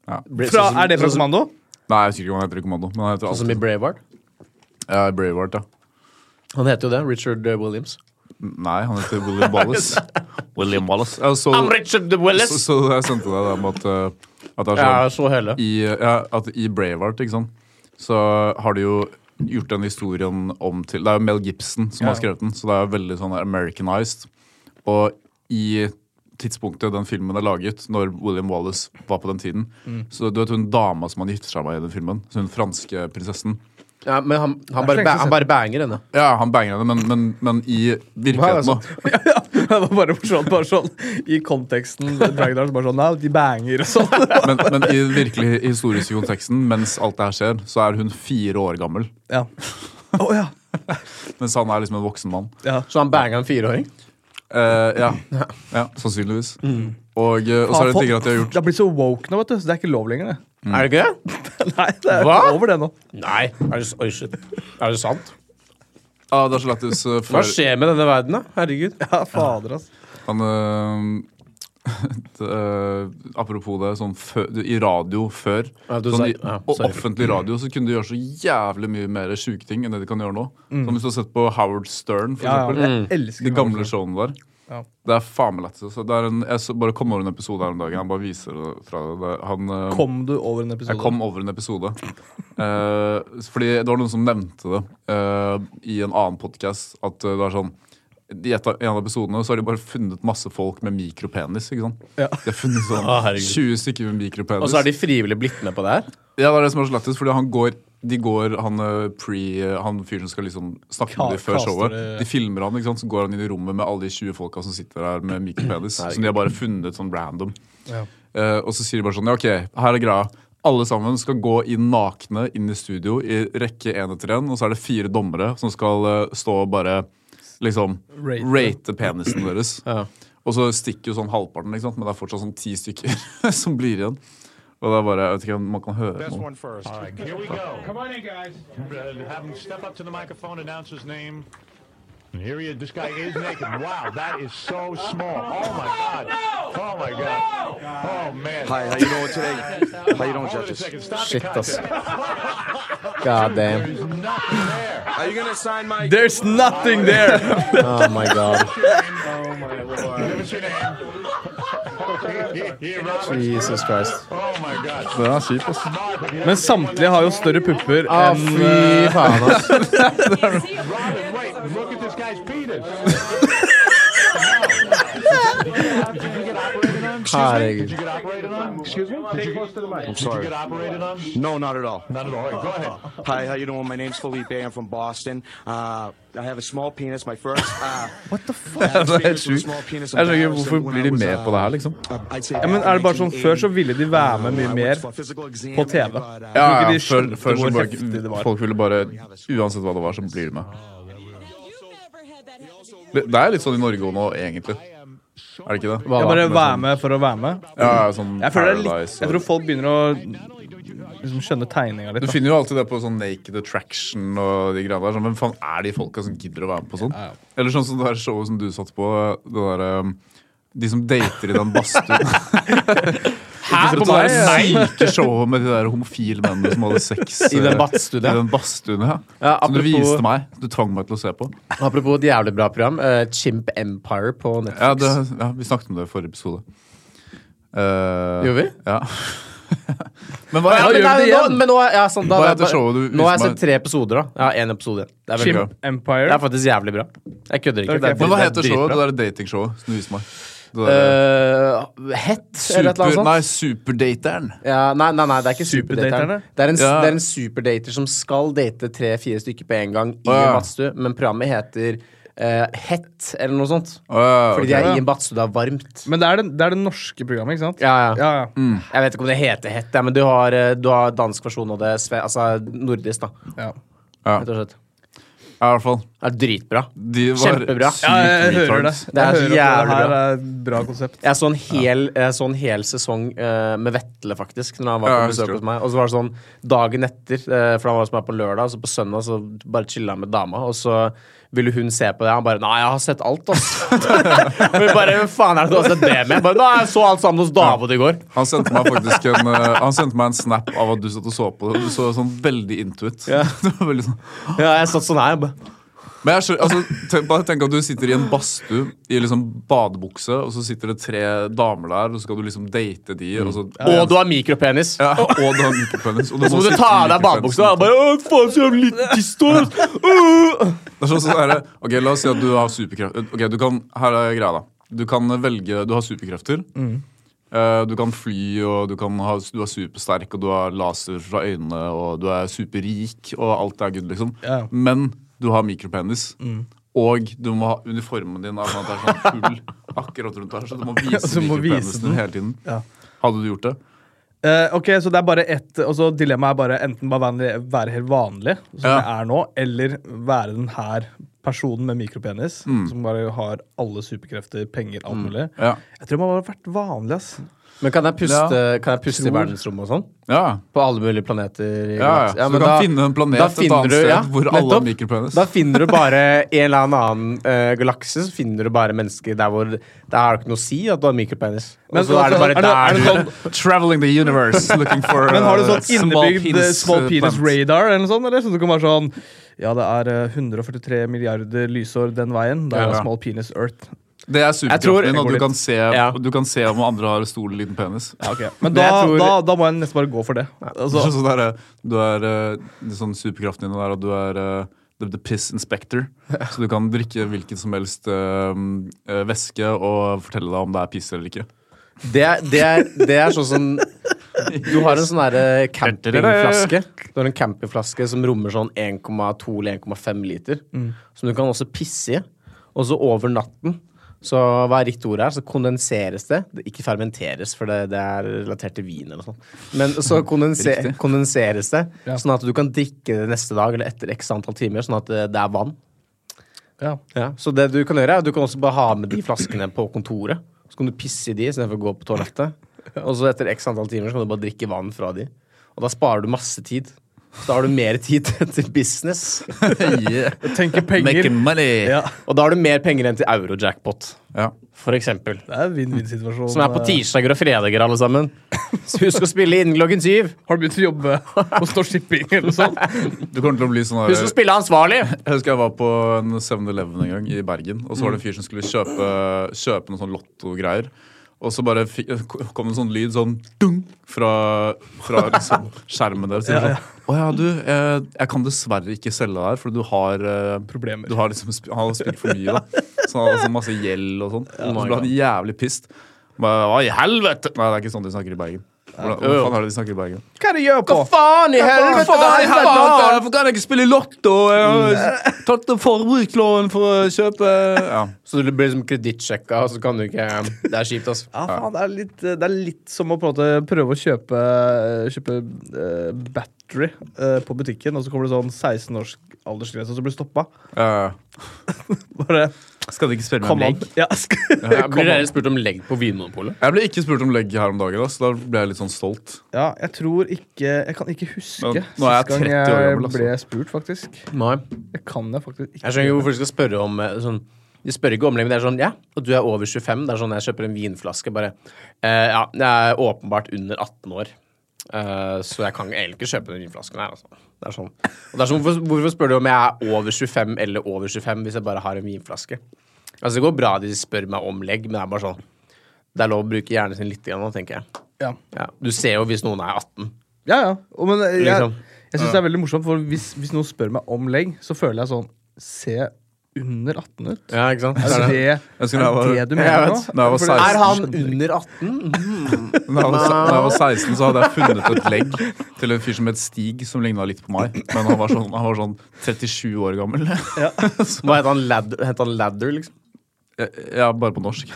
C: Fra, er det fra Commando?
A: Nei, jeg husker ikke hva han heter i Kommando. Men han heter
B: Sånn som i
A: alltid
B: Braveheart?
A: ja, Braveheart, ja.
B: Han heter jo det. Richard eh, Williams.
A: Nei, han heter William Wallace. William Wallace. Ja, så,
B: Richard
A: så, så jeg sendte deg det med at, eh, at det er
B: Ja,
A: sånn
B: jeg så hele.
A: i, ja, at i Braveheart, ikke sant, så har de jo gjort den historien om til Det er jo Mel Gibson som har skrevet den, så det er jo veldig sånn Americanized. Og i tidspunktet den filmen er laget, når William Wallace var på den tiden
B: Mm.
A: Så du vet hun dama som han gifter seg med i den filmen? Så hun franske prinsessen?
B: Ja, men han, han, bare,
C: lenge
B: ba
C: siden.
B: han bare banger henne.
A: Ja, han banger henne, men, men, men i
B: Hva er det
A: virkeligheten,
B: som-
A: da.
C: Ja, ja. Det var bare sånn, bare sånn i konteksten. Dragdars bare sånn Nei, de banger og sånn.
A: Men, men i den virkelig historiske konteksten, mens alt det her skjer, så er hun fire år gammel.
C: Ja. Å ja.
A: Mens han er liksom en voksen mann.
C: ja.
B: Så han banga en fireåring?
A: Eh, ja. ja, sannsynligvis.
B: Mm.
A: Og, eh, og så er det ting at de har gjort
C: Det har blitt så woke nå, vet du. Så det er ikke lov lenger, det.
B: Er det ikke det?
C: Nei, det er
B: Hva?
C: over det nå.
B: Mm. Nei. Er det, s- oi, shit. Er det sant?
A: Ja, det er så lættis eh,
B: Hva
A: før
B: skjer med denne verden, da? Herregud.
C: Ja, fader, ass.
A: han, eh, et, eh, Apropos det, sånn før, i radio før
B: Ja, du
A: sånn
B: sa-
A: i,
B: ja,
A: Og
B: sorry.
A: offentlig radio så kunne de gjøre så jævlig mye mer sjuke ting enn det de kan gjøre nå.
B: Mm.
A: Som hvis du har sett på Howard Stern, for
C: Ja,
A: eksempel.
C: ja. Jeg elsker
A: De gamle showene der.
C: Ja.
A: Det er faen meg lættis. altså. Det er en- Jeg så- bare kom over en episode her om dagen. Han bare viser det fra det. det. Han, eh,
C: Kom du over en episode?
A: Jeg kom over en episode. Eh, fordi det var noen som nevnte det eh, i en annen podkast. At eh, det var sånn I et av, en av episodene så har de bare funnet masse folk med mikropenis. ikke sant?
C: Ja.
A: De har funnet sånn
B: Å, herregud.
A: 20 stykker med mikropenis.
B: Og så har de frivillig blitt med på det her?
A: Ja, det er det som er så lættis, fordi han går de går, han eh, pre, han fyren som skal liksom snakke med
C: Ka-
A: dem før
C: kaster
A: showet.
C: det-
A: De filmer han, ikke sant? så går han inn i rommet med alle de 20 folka som sitter der med mikropenis. som de har bare funnet sånn random.
C: Ja.
A: Eh, og så sier de bare sånn Ja, OK, her er greia. Alle sammen skal gå inn nakne inn i studio i rekke én etter én, og så er det fire dommere som skal eh, stå og bare liksom
C: Rate.
A: rate penisen deres.
B: Ja.
A: Og så stikker jo sånn halvparten, ikke sant? men det er fortsatt sånn ti stykker som blir igjen. Og det er bare, jeg vet ikke om man kan høre
D: Best
A: noe.
D: one first. Here we go. Come on in, guys. Have him step up to the microphone, announce his name. And here he is. This guy is naked. Wow, that is so small. Oh my God. Oh my God. Oh man.
E: Hi, how you doing today? How you doing,
D: Hold it a
E: judges?
D: second. Stop the
B: Shit, ass.
D: contest.
B: God damn.
D: There's nothing there.
E: Are you gonna sign my?
C: There's nothing there!
B: Oh my god.
D: Give us your name. Here, Robert.
B: Jesus Christ.
D: Oh my God.
A: Den er kjip, ass.
C: Men samtlige har jo større pupper
B: Å,
C: enn
B: Ah, fy faen, ass.
D: Robert, wait. Look at this guy's penis. Did you get operated on? Did
B: Herregud.
D: you get operated on? Excuse me? Did you, I'm
E: sorry.
D: Did you get operated on?
E: No, not at all.
D: Not at all. Go ahead.
E: Hi, how you doing? My name's Felipe. I'm from Boston. Uh, I have a small penis. My first. Uh, what the fuck?
A: Det er helt sjukt. Jeg skjønner ikke hvorfor blir de med på det her, liksom.
E: Ja,
C: Ja, men er det bare sånn Før så ville de være med mye mer på TV.
E: uh,
A: Ja,
C: Jeg tror
A: ja,
C: ikke
A: før,
C: de skjønte
A: før så
C: hvor
A: bare,
C: heftig det var.
A: folk ville bare Uansett hva det var, så blir de med.
F: You've never had that happen to you.
A: Det, det er litt sånn i Norge også nå, egentlig. Er det ikke det?
B: Hva
C: Jeg
B: da?
C: bare være med for å være med.
A: Ja, sånn
C: Jeg, føler det er
A: liksom
C: litt,
A: Paradise
C: jeg
A: og-
C: tror folk begynner å liksom, skjønne tegninga litt.
A: Du
C: da.
A: finner jo alltid det på sånn Naked Attraction og de greiene der. Sånn, hvem faen er de folka som gidder å være med på sånn? Eller sånn som det der showet som du satt på. Det der, um, de som dater i den badstuen. Hæ?
B: På
A: Det der
B: meg?
A: syke showet med de der homofile mennene som hadde sex
B: I den
A: eh,
B: badstuen,
A: i
B: ja.
A: den badstuen, ja.
B: Ja,
A: som du
B: apropos-
A: viste meg. Du tvang meg til å se på.
B: Apropos et jævlig bra program. eh, Chimp Empire på Netflix.
A: Ja, det, ja, Vi snakket om det i forrige episode. Eh,
B: Gjorde vi?
A: Ja. men hva
B: Ja, men,
A: gjør vi det
B: nei, nå,
A: igjen?
B: men nå, er- ja, sånn, da,
A: Hva
B: da-
A: heter showet du
B: nå har jeg
A: viste meg?
B: sett tre episoder, da. Ja, én episode igjen. Det er veldig bra.
C: Chimp
B: Det
C: Empire.
B: er faktisk jævlig bra. Jeg kødder ikke.
C: Ok.
B: Det er,
A: Men hva
B: det er
A: heter showet?
B: dritbra.
A: Det der datingshowet som du viste meg? Det der,
B: Eh, Hett, eller et eller
A: super,
B: annet sånt.
A: nei, superdateren.
B: Ja, nei, nei, nei, det er ikke superdaterne.
C: Superdaterne?
B: Det er, en,
A: Ja.
B: det er en superdater som skal date tre-fire stykker på en gang i
A: Å, ja.
B: en badstue, men programmet heter eh, Hett eller noe sånt.
A: Åh, Ah,
B: Fordi
A: ok.
B: de er
C: ja.
B: i en badstue, det er varmt.
C: Men det er, den, det er det norske programmet, ikke sant?
B: Ja, Mm. ja.
C: ja, ja.
A: Mm.
B: Jeg vet ikke om det heter Hett, ja, men du har, eh, du har dansk versjon av det. Sve, altså nordisk, da.
C: ja.
A: Ja,
B: Rett og slett.
A: i hvert fall.
B: Det er dritbra.
A: De var
B: Kjempebra.
A: sykt
C: Ja, jeg hører det.
A: retards.
B: Det er så
C: jeg hører at
B: jævlig
C: det her er et bra konsept.
B: Jeg så en hel, jeg så en hel sesong eh, med Vetle, faktisk, når han var
A: Ja,
B: på
A: jeg
B: besøk
A: husker
B: hos meg. Og så var det sånn dagen etter, eh, for han var hos meg på lørdag, og så på søndag så bare chilla han med dama, og så ville hun se på det. Han bare 'Nei, jeg har sett alt, ass'. Hun bare 'Hva faen er det du har sett det med?' Jeg bare 'Nei, jeg så alt sammen hos David i går'.
A: Han sendte meg faktisk en, eh, han sendte meg en snap av at du satt og så på det. og Du så sånn veldig into it. Det var veldig sånn.
B: Ja, jeg satt sånn her. jeg bare,
A: Men jeg skjønner, altså, tenk, bare tenk at du sitter i en badstue i liksom badebukse, og så sitter det tre damer der, og så skal du liksom date de, og så
B: Og du har mikropenis.
A: ja, Og du har mikropenis. Og
B: Så må du ta av deg badebuksa. og bare, «Å, faen, så jævlig liten tiss du har, ass».
A: Det er sånn, sånn derre- ok, La oss si at du har superkrefter. Ok, du kan, her er greia da. Du kan velge, du har superkrefter.
C: Mm.
A: Eh, du kan fly, og du, kan ha, du er supersterk, og du har laser fra øynene, og du er superrik, og alt er good, liksom.
C: Ja. Mm.
A: Men du har mikropenis. Og du må ha uniformen din er sånn at det er sånn hull akkurat rundt der, så du må vise
C: så du må vise
A: mikropenisen din hele tiden.
C: Ja.
A: Hadde du gjort det?
C: Eh, ok, så det er bare ett Og så dilemmaet er bare enten bare vanlig, være helt vanlig, som
A: Ja.
C: det er nå, eller være den her personen med mikropenis, som bare har alle superkrefter, penger, alt mulig.
A: Ja.
C: Jeg tror man bare har vært vanlig, ass.
B: Men kan jeg puste, kan jeg puste i
C: Tror-
B: verdensrommet og sånn?
A: Ja.
B: På alle mulige planeter?
A: Ja,
B: i
A: ja.
B: galaksen.
A: Så du
B: men
A: kan finne en planet
B: da
A: et
B: finner
A: annet
B: du-
A: sted
B: ja,
A: hvor alle har
B: nettopp.
A: mikropenis.
B: Da finner du bare i en eller annen eh, galakse så finner du bare mennesker der hvor det er ikke noe å si at du har mikropenis. Og
C: Men
A: altså,
B: så er det bare
C: er det- er
B: der
C: det
B: du-
C: sånn-
A: Traveling the universe looking for
C: Men har du
A: uh,
C: sånn innebygd eh, small penis
A: plant.
C: radar eller noe sånt? Eller? Så du kan være sånn Ja, det er eh, 143 milliarder lysår den veien. Det er
A: Ja.
C: small penis earth.
A: Det er
B: tror-
A: superkraften din, og
B: Jeg
A: du
B: går
A: kan,
B: litt.
A: se,
B: Ja.
A: du kan se om andre har stor eller liten penis.
C: Ja, ok. Men da,
B: Men jeg tror-
C: da, da må jeg nesten bare gå for det. Altså,
A: Så, så der, eh, du er eh, det er sånn Superkraften din er at du er eh, the, the piss inspector. Så du kan drikke hvilken som helst eh, eh, væske og fortelle deg om det er piss eller ikke.
B: det, er- det, er, det er sånn som Du har en sånn derre campingflaske. Du har en campingflaske som rommer sånn 1,2 eller 1,5 liter. Som du kan også pisse i. Og så over natten så hva er riktig ord her, så kondenseres det. det ikke fermenteres, for det, det er relatert til vin eller noe sånt. Men så kondense,
A: Riktig.
B: kondenseres det, sånn at du kan drikke det neste dag eller etter x antall timer, sånn at det, det er vann.
C: ja.
B: Ja, så det du kan gjøre, er at du kan også bare ha med de flaskene på kontoret. Så kan du pisse i de istedenfor å gå på toalettet. Og så etter x antall timer så kan du bare drikke vann fra de. Og da sparer du masse tid. Så da har du mer tid til business.
C: Tenke penger.
A: money!
C: Ja.
B: Og da har du mer penger enn til euro-jackpot,
A: Ja.
B: for eksempel.
C: Det er en vinn-vinn-situasjon.
B: Som er på tirsdager og fredager, alle sammen. Så husk å spille innen klokken syv.
C: Har du begynt å jobbe hos Norsk Shipping eller noe sånt?
A: Du kommer til å bli sånn der-
B: Husk å spille ansvarlig!
A: Jeg husker jeg var på en 7-Eleven en gang i Bergen. Og så var det en fyr som skulle kjøpe, kjøpe noen sånn lottogreier. Og så bare fi- kom det en sånn lyd sånn dung fra, fra liksom skjermen der. Så jeg sånn, Å ja, du, eh, jeg kan dessverre ikke selge deg her, for du har eh,
C: Problemer.
A: Du har liksom sp- han har spilt for mye, da. Så han hadde sånn masse gjeld og sånn. Og så ble han jævlig pissed. Bare, Hva i helvete? Nei, det er ikke sånn de snakker i Bergen. Hvordan, hva faen er det de snakker i Bergen?
C: Hva er det du gjør på?
B: Faen i
A: Hva
B: helvete!
A: faen i
B: hva er
A: helvete?
B: faen?
A: Hvorfor kan jeg ikke spille lotto? Jeg har tatt opp forbrukslån for å kjøpe ja.
B: Så du blir liksom kredittsjekka, og så kan du ikke Det er kjipt, altså.
C: Ja, faen, det, er litt, det er litt som å på en måte prøve å kjøpe, kjøpe eh, battery eh, på butikken, og så kommer det sånn 16 års aldersgrense, og så blir du stoppa. Bare
A: Skal du ikke spørre
C: kom an. Ja, sk-
B: Ja, Blir dere spurt om legg på Vinmonopolet?
A: Jeg ble ikke spurt om legg her om dagen, da, så da ble jeg litt sånn stolt.
C: ja, jeg tror ikke Jeg kan ikke huske
A: Nå- nå er jeg 30 år gammel, altså.
C: ble spurt, faktisk.
B: Nei.
C: Det kan jeg faktisk ikke.
B: Jeg skjønner ikke hvorfor de skal spørre om eh, sånn de spør ikke om det, men det er sånn Ja, og du er over 25. Det er sånn jeg kjøper en vinflaske, bare eh, Ja, jeg er åpenbart under 18 år, eh, så jeg kan egentlig ikke kjøpe den vinflasken her, altså. Det er sånn. Og det er sånn hvorfor, hvorfor spør du om jeg er over 25 eller over 25 hvis jeg bare har en vinflaske? Altså, det går bra de spør meg om legg, men det er bare sånn Det er lov å bruke hjernen sin litt igjen nå, tenker jeg.
C: Ja,
B: Ja. Du ser jo hvis noen er 18.
C: ja. ja. Og, men jeg, jeg
B: Liksom.
C: syns det er veldig morsomt, for hvis, hvis noen spør meg om legg, så føler jeg sånn Se under 18 ut?
B: Ja, ikke sant? Altså,
C: Er det
A: Jeg
C: er
A: husker da jeg var-
C: det, det
A: Jeg
C: du mener nå?
A: vet. Da jeg var
C: For det-
A: 16.
B: Er han under 18?
A: Da jeg, var, se- da jeg var 16, så hadde jeg funnet et legg til en fyr som het Stig, som ligna litt på meg. Men han var sånn, han var sånn 37 år gammel.
B: Hva heter han? Ladder, heter han Ladder, liksom?
A: Jeg, jeg bare på norsk.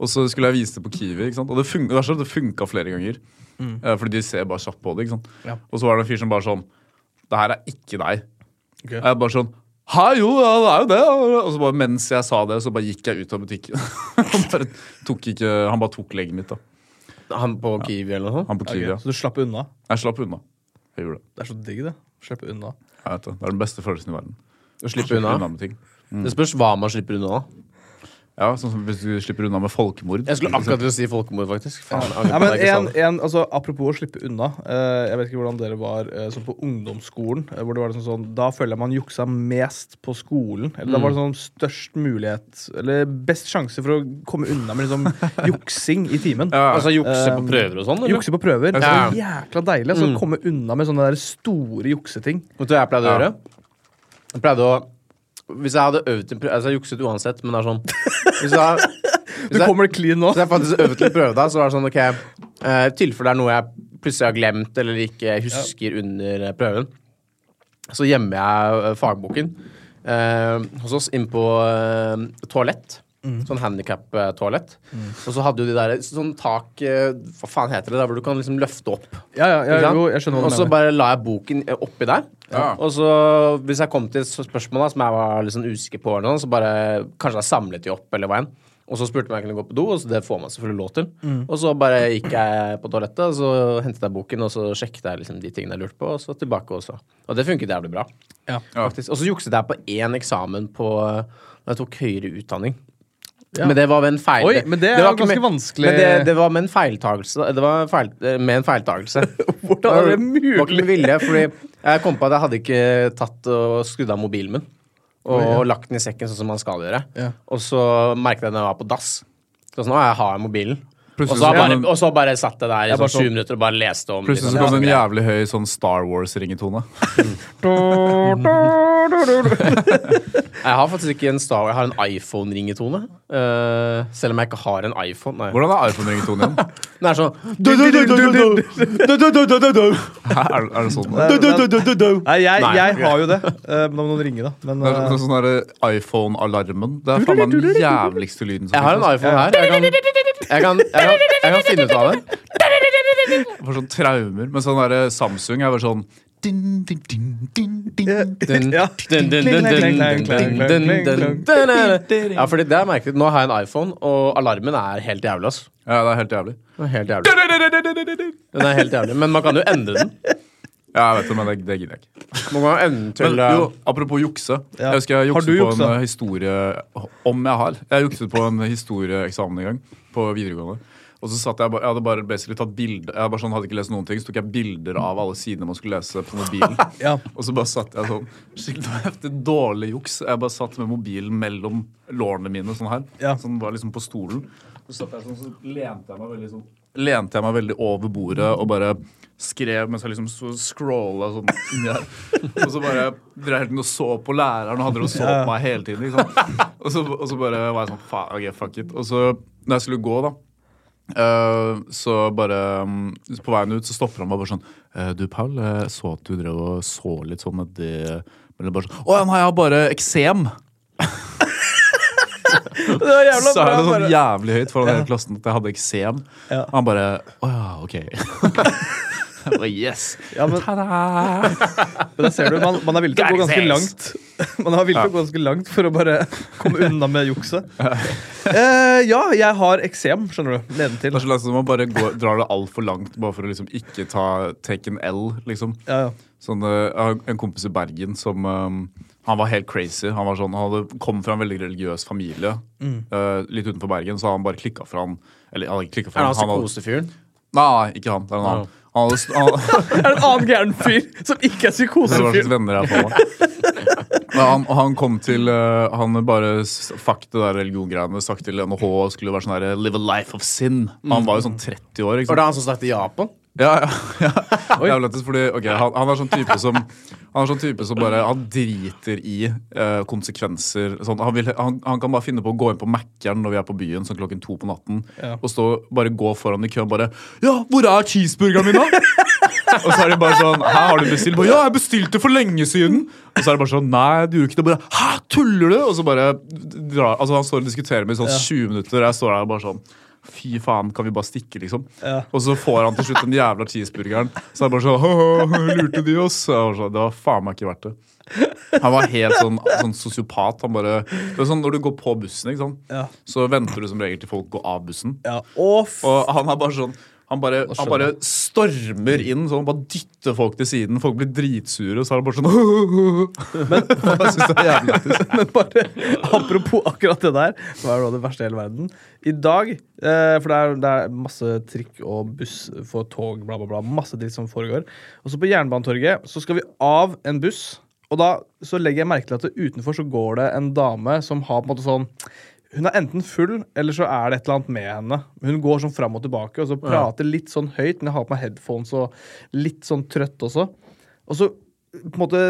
A: Og så skulle jeg vise det på Kiwi, ikke sant? og det, fun det, verste er sånn at det funka flere ganger.
B: Mm.
A: Eh, Fordi de ser bare kjapt på det. ikke sant?
C: Ja.
A: Og så var det en fyr som bare sånn Det her er ikke deg. Og jeg bare sånn Hei, jo, ja, det er jo det. Og så bare mens jeg sa det, så bare gikk jeg ut av butikken. han, bare tok ikke, han bare tok legget mitt, da.
B: Han på Kiwi eller noe sånt?
A: Han på Kiwi.
C: Ok,
A: ja.
C: Så du slapp unna?
A: Jeg slapp unna. Jeg gjorde det.
C: Det er så digg, det. Slippe unna.
A: Jeg vet det. det er den beste følelsen i verden.
B: Å slippe
A: unna mm.
B: unna?
A: med ting.
B: Det spørs hva man slipper unna. da.
A: Ja, sånn som Hvis du slipper unna med folkemord.
B: Jeg skulle akkurat til å si folkemord, faktisk. Faen, jeg angrer
C: Ja,
B: på
C: men
B: at jeg ikke sa
C: en,
B: det.
C: en, altså, apropos å slippe unna. eh, jeg vet ikke hvordan dere var eh, sånn på ungdomsskolen. eh, hvor det var liksom sånn, Da føler jeg man juksa mest på skolen. Eller
A: Mm.
C: Da var det sånn størst mulighet Eller best sjanse for å komme unna med liksom juksing i timen.
B: Altså jukse på
C: Um,
B: prøver og sånn? eller?
C: Jukse på prøver. Det
B: Ja.
C: er jækla deilig. Så komme unna med sånne der store jukseting.
B: Vet du hva jeg pleide å gjøre? Jeg pleide å Hvis jeg hadde øvd en prøve Altså, jeg jukset uansett, men det er sånn Hvis jeg, hvis
C: Du
B: jeg,
C: kommer det clean nå.
B: hvis jeg faktisk øvde til en prøve, da, så var det sånn OK eh, I tilfelle det er noe jeg plutselig har glemt eller ikke husker under eh, prøven, så gjemmer jeg eh, fagboken eh, hos oss inn på eh, toalett. Sånn handikap-toalett. Og så hadde jo de der sånn tak eh, Hva faen heter det? Der hvor du kan liksom løfte opp.
C: Ja, ja,
B: Ikke
C: ja,
B: sant?
C: jo, jeg skjønner hva
B: Og
C: du
B: så
C: mener.
B: bare la jeg boken eh, oppi der.
A: Ja.
B: Og så hvis jeg kom til et spørsmål da, som jeg var litt sånn usikker på, eller noe, så bare kanskje jeg samlet de opp, eller hva enn. Og så spurte jeg om jeg kunne gå på do, og så det får man selvfølgelig lov til. Og så bare gikk jeg på toalettet, og så hentet jeg boken, og så sjekket jeg liksom de tingene jeg lurte på, og så tilbake også. Og det funket jævlig bra.
C: Ja.
B: Faktisk. Og så jukset jeg på én eksamen på da jeg tok høyere utdanning. Men det var ved en feil
C: Oi, men det er
B: var
C: jo
B: ikke
C: ganske
B: med-
C: vanskelig.
B: Men det, det var med en feiltagelse. da. Det var feil, med en feiltagelse.
C: Hvordan
B: Det var
C: er det
B: ikke
C: mulig?
B: med vilje, fordi jeg kom på at jeg hadde ikke tatt og skrudd av mobilen min. Og lagt den i sekken, sånn som man skal gjøre.
C: Ja.
B: Og så merket jeg når jeg var på dass. Så sånn, å, jeg har mobilen. Og
A: Plutselig
B: så,
A: så
B: bare,
A: kom den-
B: og så bare satt jeg der i
C: bare
B: sånn sju
C: sånn-
B: minutter og bare leste om
A: Plutselig så
B: liksom,
A: kom det en
B: ja.
A: jævlig høy sånn Star Wars-ringetone.
B: Jeg har faktisk ikke en Star Wars, jeg har en iPhone-ringetone. Eh, selv om jeg ikke har en iPhone. Nei.
A: Hvordan er iPhone-ringetonen igjen?
B: Den er sånn du, du, du, du, du, du. Du, du, du, du, du, du.
A: Hæ, Er, er det sånn?
C: Nei,
A: Det
C: men- Nei, jeg,
B: Nei,
C: jeg
B: ok.
C: har jo det. Eh, men da må noen ringe, da. Men,
A: er sånn-
C: eh,
A: sånn derre iPhone-alarmen. Det er faen meg den jævligste lyden som
B: Jeg har en
A: finnes.
B: iPhone her. Jeg kan, jeg kan, jeg kan, jeg kan finne ut av det.
A: Jeg får sånn traumer. Men sånn derre Samsung er bare sånn din, din, din, din, din.
B: Dun,
C: Ja.
B: dun, dun, dun, dun, dun, dun, dun, dun, dun, dun. Ja, fordi det er merkelig. Nå har jeg en iPhone, og alarmen er helt jævlig, ass.
A: Ja, det er helt jævlig.
B: Den er helt jævlig. Den er helt jævlig. Men man kan jo endre den.
A: Ja, jeg vet det, men det, det gidder jeg ikke.
B: Man kan jo endre
A: Men
B: til
A: jo,
B: eh,
A: apropos jukse.
C: Ja.
A: Jeg husker jeg
C: Har
A: jukset
C: du
A: på en
C: juksa?
A: eh, historie Om jeg har. Jeg jukset på en historieeksamen en gang på videregående. Og så satt Jeg bare, jeg hadde bare basically tatt bilder Jeg bare sånn, hadde ikke lest noen ting, så tok jeg bilder av alle sidene man skulle lese på mobilen.
C: Ja.
A: Og så bare satt jeg sånn. Skikkelig heftig dårlig juks. Jeg bare satt med mobilen mellom lårene mine sånn her.
C: Ja.
A: Så den var liksom på stolen. Så satt jeg sånn, så lente jeg meg veldig sånn Lente jeg meg veldig over bordet og bare skrev mens jeg liksom så scrolla sånn inni her. Og så bare drev jeg helt og så på læreren og han drev og så på meg hele tiden. Ikke sant? Og, så, og så bare var jeg sånn faen, ok, fuck it. Og så når jeg skulle gå, da Eh, så bare mm, På veien ut så stopper han meg bare sånn eh, Du, Paul, jeg så at du drev og så litt sånn at det Eller bare sånn Å ja, nei, jeg har bare eksem!
C: det var jævla
A: Så er det
C: bra,
A: sånn
C: bare.
A: jævlig høyt foran hele klassen at jeg hadde eksem.
C: Ja.
A: Og han bare Å ja, ok. Jeg
B: Oh,
A: bare, yes!
C: Ja, men, men der ser du, man, man er villig til å gå ganske langt Man er villig til å gå ganske langt for å bare komme unna med jukset. Eh, ja, jeg har eksem, skjønner du.
A: Det
C: Nedentil.
A: er så langt som man bare går, drar det altfor langt bare for å liksom ikke ta take an L, liksom.
C: Ja, ja.
A: Sånn, eh, jeg har en kompis i Bergen som eh, Han var helt crazy. Han, var sånn, han hadde, kom fra en veldig religiøs familie.
B: Mm.
A: eh, litt utenfor Bergen, så han bare klikka for han Eller han hadde ikke klikka for
B: Er
A: han,
B: det han
A: han hadde,
B: psykosefyren?
A: Nei, ikke han. Det er en annen. Han hadde, st- han,
C: Er det en annen gæren fyr som ikke er
A: det var slags
C: psykosefyr?
A: venner jeg får meg. Men han, han kom til eh, Han bare s- fuck det der religiongreiene. Sagt eh, til NHH skulle være sånn her Live a life of sin. Han var jo sånn 30 år. ikke
B: Mm. Var
A: sant?
B: det han som snakket i Japan?
A: Ja, ja, ja. Det er jo lettest fordi ok, han, han er sånn type som Han er sånn type som bare Han driter i eh, konsekvenser. Sånn, han, vil, han, han kan bare finne på å gå inn på Mækkern når vi er på byen sånn klokken to på natten.
C: Ja.
A: Og stå, bare gå foran i køen og bare 'Ja, hvor er cheeseburgeren min, da?' og så er de bare sånn 'Hæ, har du bestilt?' Bare, 'Ja, jeg bestilte for lenge siden.' Og så er det bare sånn 'Nei, du gjorde ikke det.' Bare 'Hæ, tuller du?' Og så bare drar Altså, han står og diskuterer med i sånn 20 minutter, og jeg står der og bare sånn Fy faen, kan vi bare stikke, liksom?
C: Ja.
A: Og så får han til slutt den jævla cheeseburgeren. Så er det bare sånn «Haha, Lurte de oss? Jeg var sånn, det var faen meg ikke verdt det. Han var helt sånn, sånn sosiopat. Han bare, det er sånn, Når du går på bussen, ikke sant?
C: Ja.
A: så venter du som regel til folk går av bussen.
C: Ja. Å, f...
A: Og han er bare sånn han bare, han bare stormer inn, sånn, bare dytter folk til siden. Folk blir dritsure, og så er han bare sånn Jeg synes det er jævlig lættis.
C: Men bare apropos akkurat det der, som er noe av det verste i hele verden. I dag, eh, for det er, det er masse trikk og buss for tog, bla, bla, bla. Masse dritt som foregår. Og så på Jernbanetorget så skal vi av en buss. Og da så legger jeg merke til at det, utenfor så går det en dame som har på en måte sånn Hun er enten full, eller så er det et eller annet med henne. Hun går sånn fram og tilbake og så prater litt sånn høyt, men jeg har på meg headphones og litt sånn trøtt også. Og så på en måte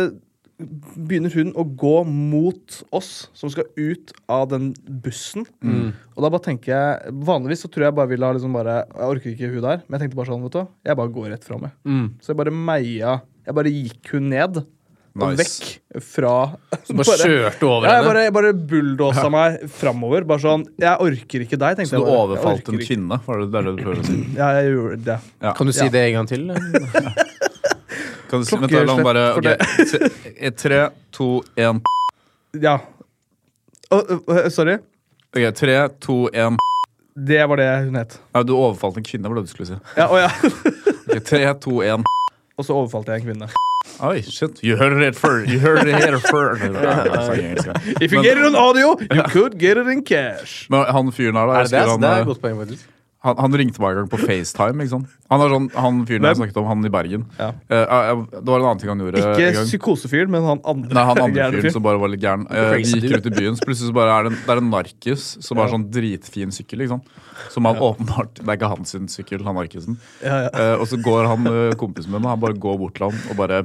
C: begynner hun å gå mot oss som skal ut av den bussen.
B: Mm.
C: Og da bare tenker jeg Vanligvis så tror jeg bare ville ha liksom bare Jeg orker ikke hun der, men jeg tenkte bare sånn, vet du hva. Jeg bare går rett fram, jeg.
B: Mm.
C: Så jeg bare meia Jeg bare gikk hun ned. Og
A: Nice.
C: vekk fra
B: Så bare kjørte over
C: ja, jeg
B: henne.
C: bare, jeg bare bulldosa meg framover. Bare sånn Jeg orker ikke deg, tenkte
A: Så du
C: jeg. bare. Jeg
A: overfalt
C: orker
A: en
C: ikke.
A: kvinne? Var det, det er det du prøver å si?
C: Ja, jeg gjorde det.
B: Kan du si det en gang til?
A: Kan du si, vent,
C: Klokkeslett
A: da, la meg bare
C: for
A: ok, tre- Tre, to, én
C: Ja. Å, ø, ø, sorry.
A: Ok, tre, to, én
C: Det var det hun het.
A: Nei, du overfalt en kvinne, var det du skulle si.
C: Ja, å, ja.
A: Ok, tre, to, én
C: Og så overfalt jeg en kvinne.
A: Oi, shit. You heard it first. You heard it here first. Nei, jeg sa engelsk, ja.
C: If you
A: Men-
C: get it on audio, you could get it in cash.
A: Men han fyren her, da. jeg
B: Er det
A: husker Han,
B: det? Det er et
A: eh,
B: godt poeng, faktisk.
A: han, han ringte meg en gang på FaceTime. ikke sant? Han er sånn, han fyren jeg snakket om, han i Bergen.
C: Ja.
A: Eh, eh, det var en annen ting han gjorde. Eh, en
C: Ikke
A: gang.
C: psykosefyren, men han andre.
A: Nei, han andre
C: gærne
A: fyren som bare var litt gæren. Eh, vi
B: Crazy
A: gikk
B: dude.
A: ut i byen, så plutselig så bare er det en, det er en narkis som har sånn dritfin sykkel. ikke sant? Som han åpenbart Det er ikke hans sin sykkel, han narkisen.
C: Ja, ja.
A: Eh, og så går han eh, kompisen min, og han bare går bort til ham og bare,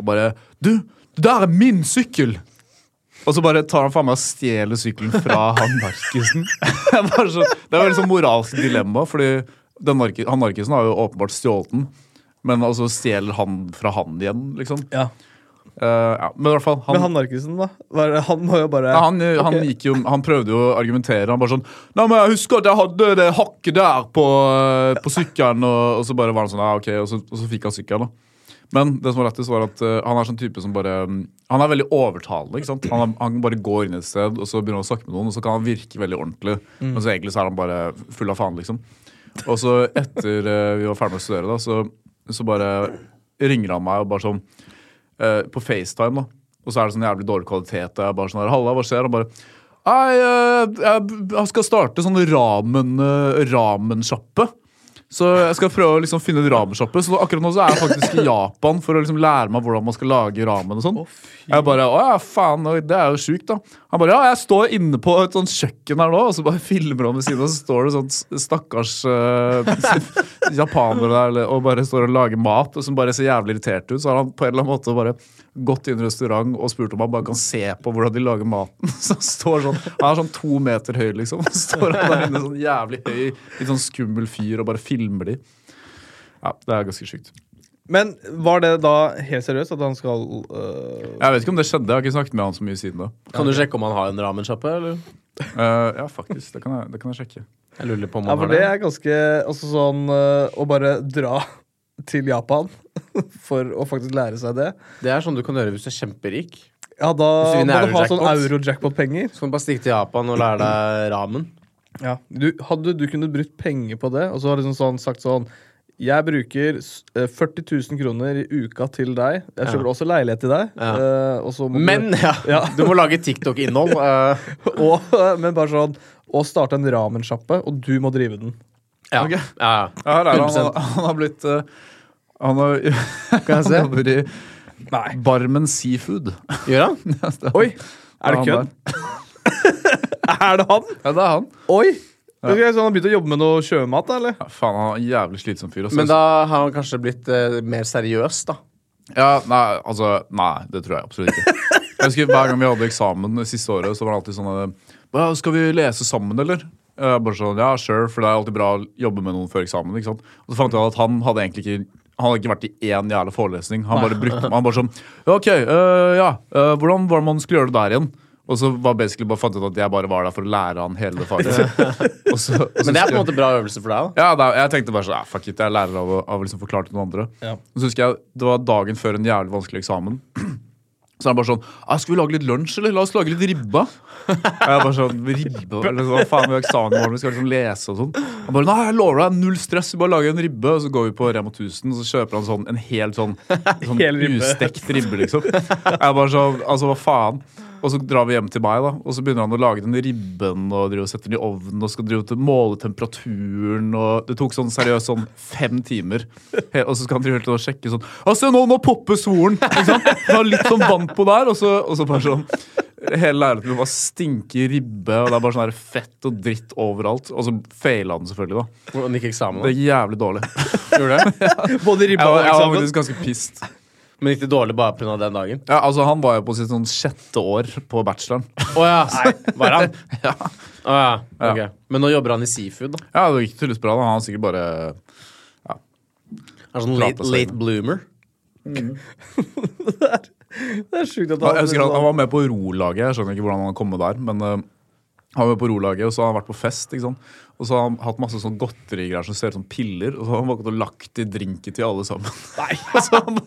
A: og bare Du, det der er min sykkel! Og så bare tar han faen meg og stjeler sykkelen fra han narkisen. Jeg bare så, det er veldig sånn moralsk dilemma, fordi den narki, han narkisen har jo åpenbart stjålet den. Men altså stjeler han fra han igjen, liksom.
C: Ja.
A: Eh, ja. Men i hvert fall,
C: Men han narkisen, da? Var det- Han må jo bare
A: ja, han, eh, han, gikk jo, han prøvde jo å argumentere. Han bare sånn Nei, men jeg husker at jeg hadde det hakket der på, eh, på sykkelen. Og, og så bare var han sånn, ja, ok, og så, og så fikk han sykkelen. da. Men det som var lettest var at eh, han er sånn type som bare mm, Han er veldig overtalende. ikke sant? Han, er, han bare går inn et sted og så begynner han å snakke med noen, og så kan han virke veldig ordentlig. Men så egentlig så er han bare full av faen, liksom. Og så etter eh, vi var ferdig med å studere, da, så, så bare ringer han meg og bare sånn eh, på FaceTime, da. Og så er det sånn jævlig dårlig kvalitet. Og jeg er bare sånn her, Halla, hva skjer? Han bare Nei, eh, jeg, jeg skal starte sånn ramen, eh, ramensjappe. Så jeg skal prøve å liksom finne en ramensjappe. Så akkurat nå så er jeg faktisk i Japan for å liksom lære meg hvordan man skal lage ramen. og sånn. jeg bare Å ja, faen, oi, det er jo sjukt, da. Han bare Ja, jeg står inne på et sånt kjøkken her nå, og så bare filmer han ved siden av, så står det sånn s- stakkars eh, japanere der eller- og bare står og lager mat, og som bare ser jævlig irritert ut. Så har han på en eller annen måte bare gått inn i en restaurant og spurt om han bare kan se på hvordan de lager maten. Så han står sånn Han er sånn to meter høy, liksom. Så står han der inne sånn jævlig høy, litt sånn skummel fyr, og bare filmer de. Ja, det er ganske sjukt.
C: Men var det da helt seriøst at han skal øh,
A: Jeg vet ikke om det skjedde, jeg har ikke snakket med han så mye siden da.
B: Kan du sjekke om han har en ramensjappe, eller?
A: Eh, ja, faktisk. Det kan jeg, det kan jeg sjekke.
B: Jeg lurer litt på om
C: Ja,
B: han
C: for
B: har
C: det
B: det.
C: er ganske Altså sånn øh, å bare dra til Japan for å faktisk lære seg det.
B: Det er sånn du kan gjøre hvis du er kjemperik.
C: Ja, da
B: Hvis du
C: må
B: vinner
C: du ha sånn
B: euro-jackpot.
C: euro-jackpot-penger.
B: Så kan du bare stikke til Japan og lære deg ramen.
C: Ja. Du, hadde du kunnet brukt penger på det, og så har liksom sånn sagt sånn jeg bruker s- eh, 40 000 kroner i uka til deg. Jeg kjøper også leilighet til deg.
B: Ja.
C: eh, og så må du-
B: Men ja,
C: Ja.
B: du må lage TikTok-innhold. eh,
C: og, men bare sånn Å starte en ramensjappe, og du må drive den.
B: ja. ja.
A: Ja, her er han.
B: 100%.
A: Han, han har blitt eh, Han har
B: Kan jeg
A: Han
B: se?
A: jobber i Barmen Seafood.
B: Gjør han?
A: Ja, det
C: Oi! Er det
A: han
C: kødd? er det han?
A: Ja, det er han.
C: Oi! Ok, så han har begynt å jobbe med noe sjømat, da, eller?
A: Ja, faen, han er en jævlig slitsom fyr. altså. Også.
B: Men da har han kanskje blitt eh, mer seriøs, da.
A: Ja, nei, altså, nei, det tror jeg absolutt ikke. Jeg husker Hver gang vi hadde eksamen det siste året, så var det alltid sånn eh, «Hva, Skal vi lese sammen, eller? Jeg bare sånn, Ja, sure, for det er alltid bra å jobbe med noen før eksamen. ikke sant? Og så fant jeg ut at han hadde egentlig ikke han hadde ikke vært i én jævla forelesning. Han bare brukte han bare sånn «Ja, OK, eh, ja, eh, hvordan var det man skulle gjøre det der igjen? Og så var basically bare fant jeg ut at jeg bare var der for å lære han hele det faget. Og så- og så
B: Men det er på
A: skrev-
B: en måte bra øvelse for deg òg.
A: ja, da, jeg tenkte bare sånn, "Ah, fuck it, jeg lærer av å, av å liksom forklare til noen andre. Og så husker jeg, Det var dagen før en jævlig vanskelig eksamen. Så er han bare sånn ah, 'Skal vi lage litt lunsj, eller? La oss lage litt ribba.' Og jeg bare sånn, ribba, eller så, Hva faen, vi har eksamen i morgen, vi skal liksom lese og sånn. Han bare 'Nei, jeg lover deg, null stress, vi bare lager en ribbe.' Og så går vi på Rema 1000, og så kjøper han sånn en hel sånn, sånn
C: Hel ribbe.
A: ustekt ribbe, liksom. Jeg bare sånn, altså hva faen? Og så drar vi hjem til meg, da, og så begynner han å lage den ribben og driver og setter den i ovnen og skal drive til måle temperaturen og Det tok sånn seriøst sånn fem timer. He- Og så skal han drive til å sjekke sånn «Å, se nå, nå popper svoren! Ikke sant? Ta litt sånn vann på der, og så, og så bare sånn Hele leiligheten min bare stinker ribbe, og det er bare sånn her fett og dritt overalt. Og så faila den selvfølgelig, da.
B: Hvordan gikk eksamen?
A: Det
B: da?
A: er jævlig dårlig. Gjorde det? Jeg
C: Både ribba
A: var,
C: og
A: jeg var
C: eksamen.
A: faktisk ganske pissed.
B: Men gikk det dårlig bare pga. den dagen?
A: Ja, altså, han var jo på sitt sånn sjette år på bacheloren.
B: Å ja. Var han? ja. Å ja. ok.
A: Ja.
B: Men nå jobber han i Seafood, da.
A: Ja, det gikk tydeligvis bra. da. Han har sikkert bare
B: Er sånn
A: Prate
B: late,
A: seg
B: late
A: inn.
B: bloomer.
C: Det er sjukt at
A: Jeg
C: han
A: husker han, han var med på rolaget. Jeg skjønner ikke hvordan han har kommet der. Men eh, han var med på rolaget, og så har han vært på fest. ikke sant? Og så har han hatt masse sånn godterigreier som ser ut som piller. Og så har han bare gått og lagt i drinken til alle sammen. Nei. så han,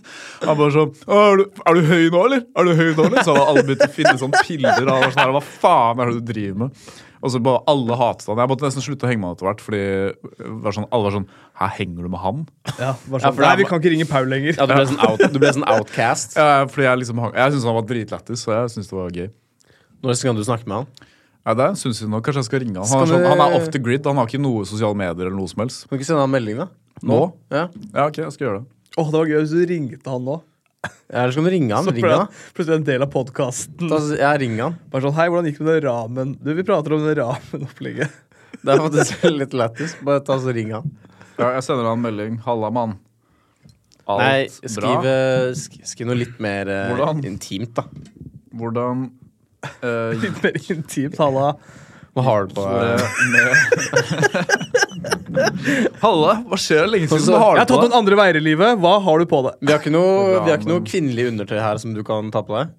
A: han bare sånn «Å, er du, 'Er du høy nå, eller?' Er du høy nå, eller? Så hadde alle begynt å finne sånne piller. Og han var sånn her, Hva faen er det du driver med? Og så bare alle hatet han. Jeg måtte nesten slutte å henge med han etter hvert. Fordi det var sånn, alle var sånn 'Hæ, henger du med han?'
C: Ja, bare
B: Ja,
C: sånn,
B: for det er-
C: Nei, vi kan ikke ringe Paul lenger.
B: Ja, du ble sånn, out, du ble sånn outcast.
A: Ja, fordi jeg liksom, hang- jeg syntes han var dritlættis, så jeg syntes det var gøy.
B: Når skal du snakke med han?
A: Nei, det syns jeg nå. Kanskje jeg skal ringe han. Han er,
B: Skal
A: sånn,
B: vi-
A: han er off the grid. Han har ikke noe sosiale medier eller noe som helst.
B: Kan du ikke sende han en melding, da?
A: Nå?
B: Ja.
A: Ja, ok, jeg skal gjøre det.
C: Åh, det var gøy hvis du ringte han nå.
B: Ja, Eller så kan du ringe han.
C: Så
B: Ring
C: ble
B: han.
C: han plutselig en del av podkasten.
B: da. Da- Ja, ring han.
C: Bare sånn, hei, hvordan gikk det med det ramen? Du, vi prater om det ramen-opplegget.
B: Det er faktisk litt lættis. Bare ta så ring han.
A: Ja, jeg sender han en melding. Halla, mann. Alt
B: Nei,
A: bra?
B: skriv, eh, sk skriv noe litt mer eh,
A: Hvordan?
B: intimt, da.
A: Hvordan eh,
C: Litt mer intimt, halla.
B: Hva har du på deg?
A: Halla, hva skjer? Lenge siden
B: så-
A: du
C: Jeg
A: har
C: har
A: det på
C: tatt
A: deg.
C: noen andre veier i livet. Hva har du på deg?
B: Vi har ikke noe,
A: Bra,
B: vi har ikke noe
A: men-
B: kvinnelig undertøy her som du kan ta på deg.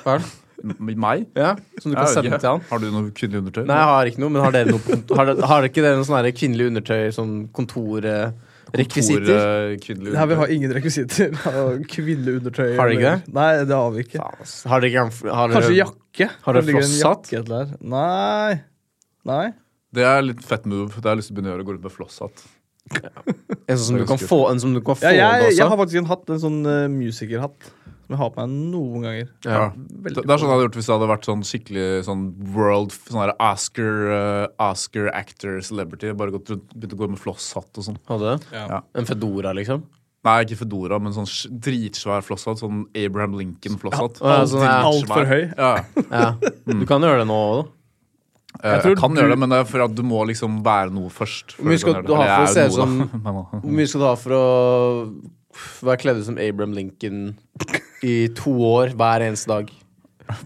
B: Hva er det?
A: M- Meg?
B: Ja, Som du kan
A: Jeg vet
B: sende
A: ikke.
B: til han.
A: Har du noe kvinnelig undertøy?
B: Nei, jeg har ikke noe, men har dere noe på- Har, dere- har dere ikke dere noe sånn her kvinnelig undertøy, sånn kontorrekvisitter?
A: Kontor, eh, kvinnelig
C: Nei, vi
A: undertøy.
C: har ingen rekvisitter. av Kvinnelig undertøy.
B: Har dere ikke
C: eller-
B: det?
C: Nei, det har vi ikke.
B: Har dere ikke har dere,
C: Kanskje jakke?
B: Har dere
C: Det ligger en
B: flosshatt?
C: jakke et eller annet. Nei. Nei.
A: Det er litt fett move. Det har jeg lyst til å begynne å gjøre. Gå rundt med flosshatt.
B: En sånn som du kan få, en som du kan få
C: Ja,
B: med
C: jeg,
B: også?
C: jeg har faktisk en hatt, en sånn eh, musikerhatt, som jeg har på meg noen ganger.
A: Ja. Det, det er sånn jeg hadde gjort hvis det hadde vært sånn skikkelig sånn world sånn her Oscar, eh, Oscar actor celebrity. Bare gått rundt, begynt å gå med flosshatt og sånn.
B: Hadde du? En Fedora, liksom?
A: Nei, ikke Fedora, men sånn sj- dritsvær flosshatt. Sånn Abraham Lincoln-flosshatt.
B: Ja, ja, sånn er-
A: Dritsvær.
C: Alt for høy.
A: Ja.
B: Ja. Du kan gjøre det nå òg, da.
A: Eh, Jeg, kan gjøre det, men det er for at du må liksom være noe først. før
B: mye skal
A: kan gjøre
B: du
A: det.
B: ha
A: Eller jeg
B: for å se
A: er
B: sånn- ut
A: noe,
B: som-
A: da. Men,
B: Hvor mye skal du ha for å være kledd ut som Abraham Lincoln i to år hver eneste dag?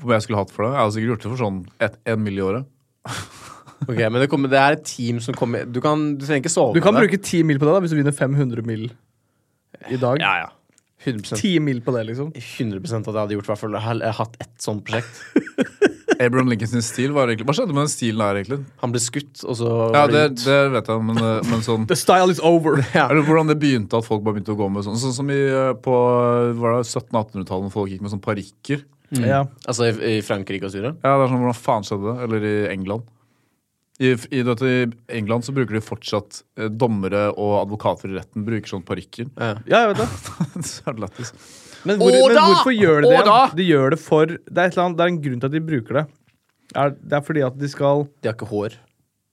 A: Hvor mye jeg skulle hatt for det? Jeg hadde sikkert gjort det for sånn et, en mill. i året.
B: Ok, Men det, kommer, det er et team som kommer Du, kan, du trenger ikke sove
C: Du kan
B: med det.
C: bruke 10 mil på det da, hvis du vinner 500 mil i dag.
B: Ja, ja. 100
C: 10 mil på det, liksom.
B: 100 at jeg hadde gjort i hvert fall Jeg har hatt ett sånt prosjekt.
A: Abraham Lincoln sin stil var egentlig Hva skjedde med den stilen her, egentlig?
B: Han ble skutt, og så
A: Ja,
B: ble
A: det,
B: ut.
A: det vet jeg, men, eh, men sånn
C: The style is over!
A: Eller hvordan det begynte at folk bare begynte å gå med sånn Sånn som i, eh, på var det 1700-1800-tallet, når folk gikk med sånn parykker.
C: Ja.
B: Altså i, i Frankrike og Syria?
A: Ja, det er sånn, Hvordan faen skjedde det? Eller i England. I, i, du vet, I England så bruker de fortsatt eh, dommere og advokater i retten bruker sånn parykker.
C: ja, jeg vet det.
A: så er det lættis.
C: Men, hvor,
B: Og
C: men
B: da!
C: hvorfor gjør de det?
B: Og da!
C: De gjør det for Det er, et eller annet, det er en grunn til at de bruker det. Er, det er fordi at de skal
B: De har ikke hår.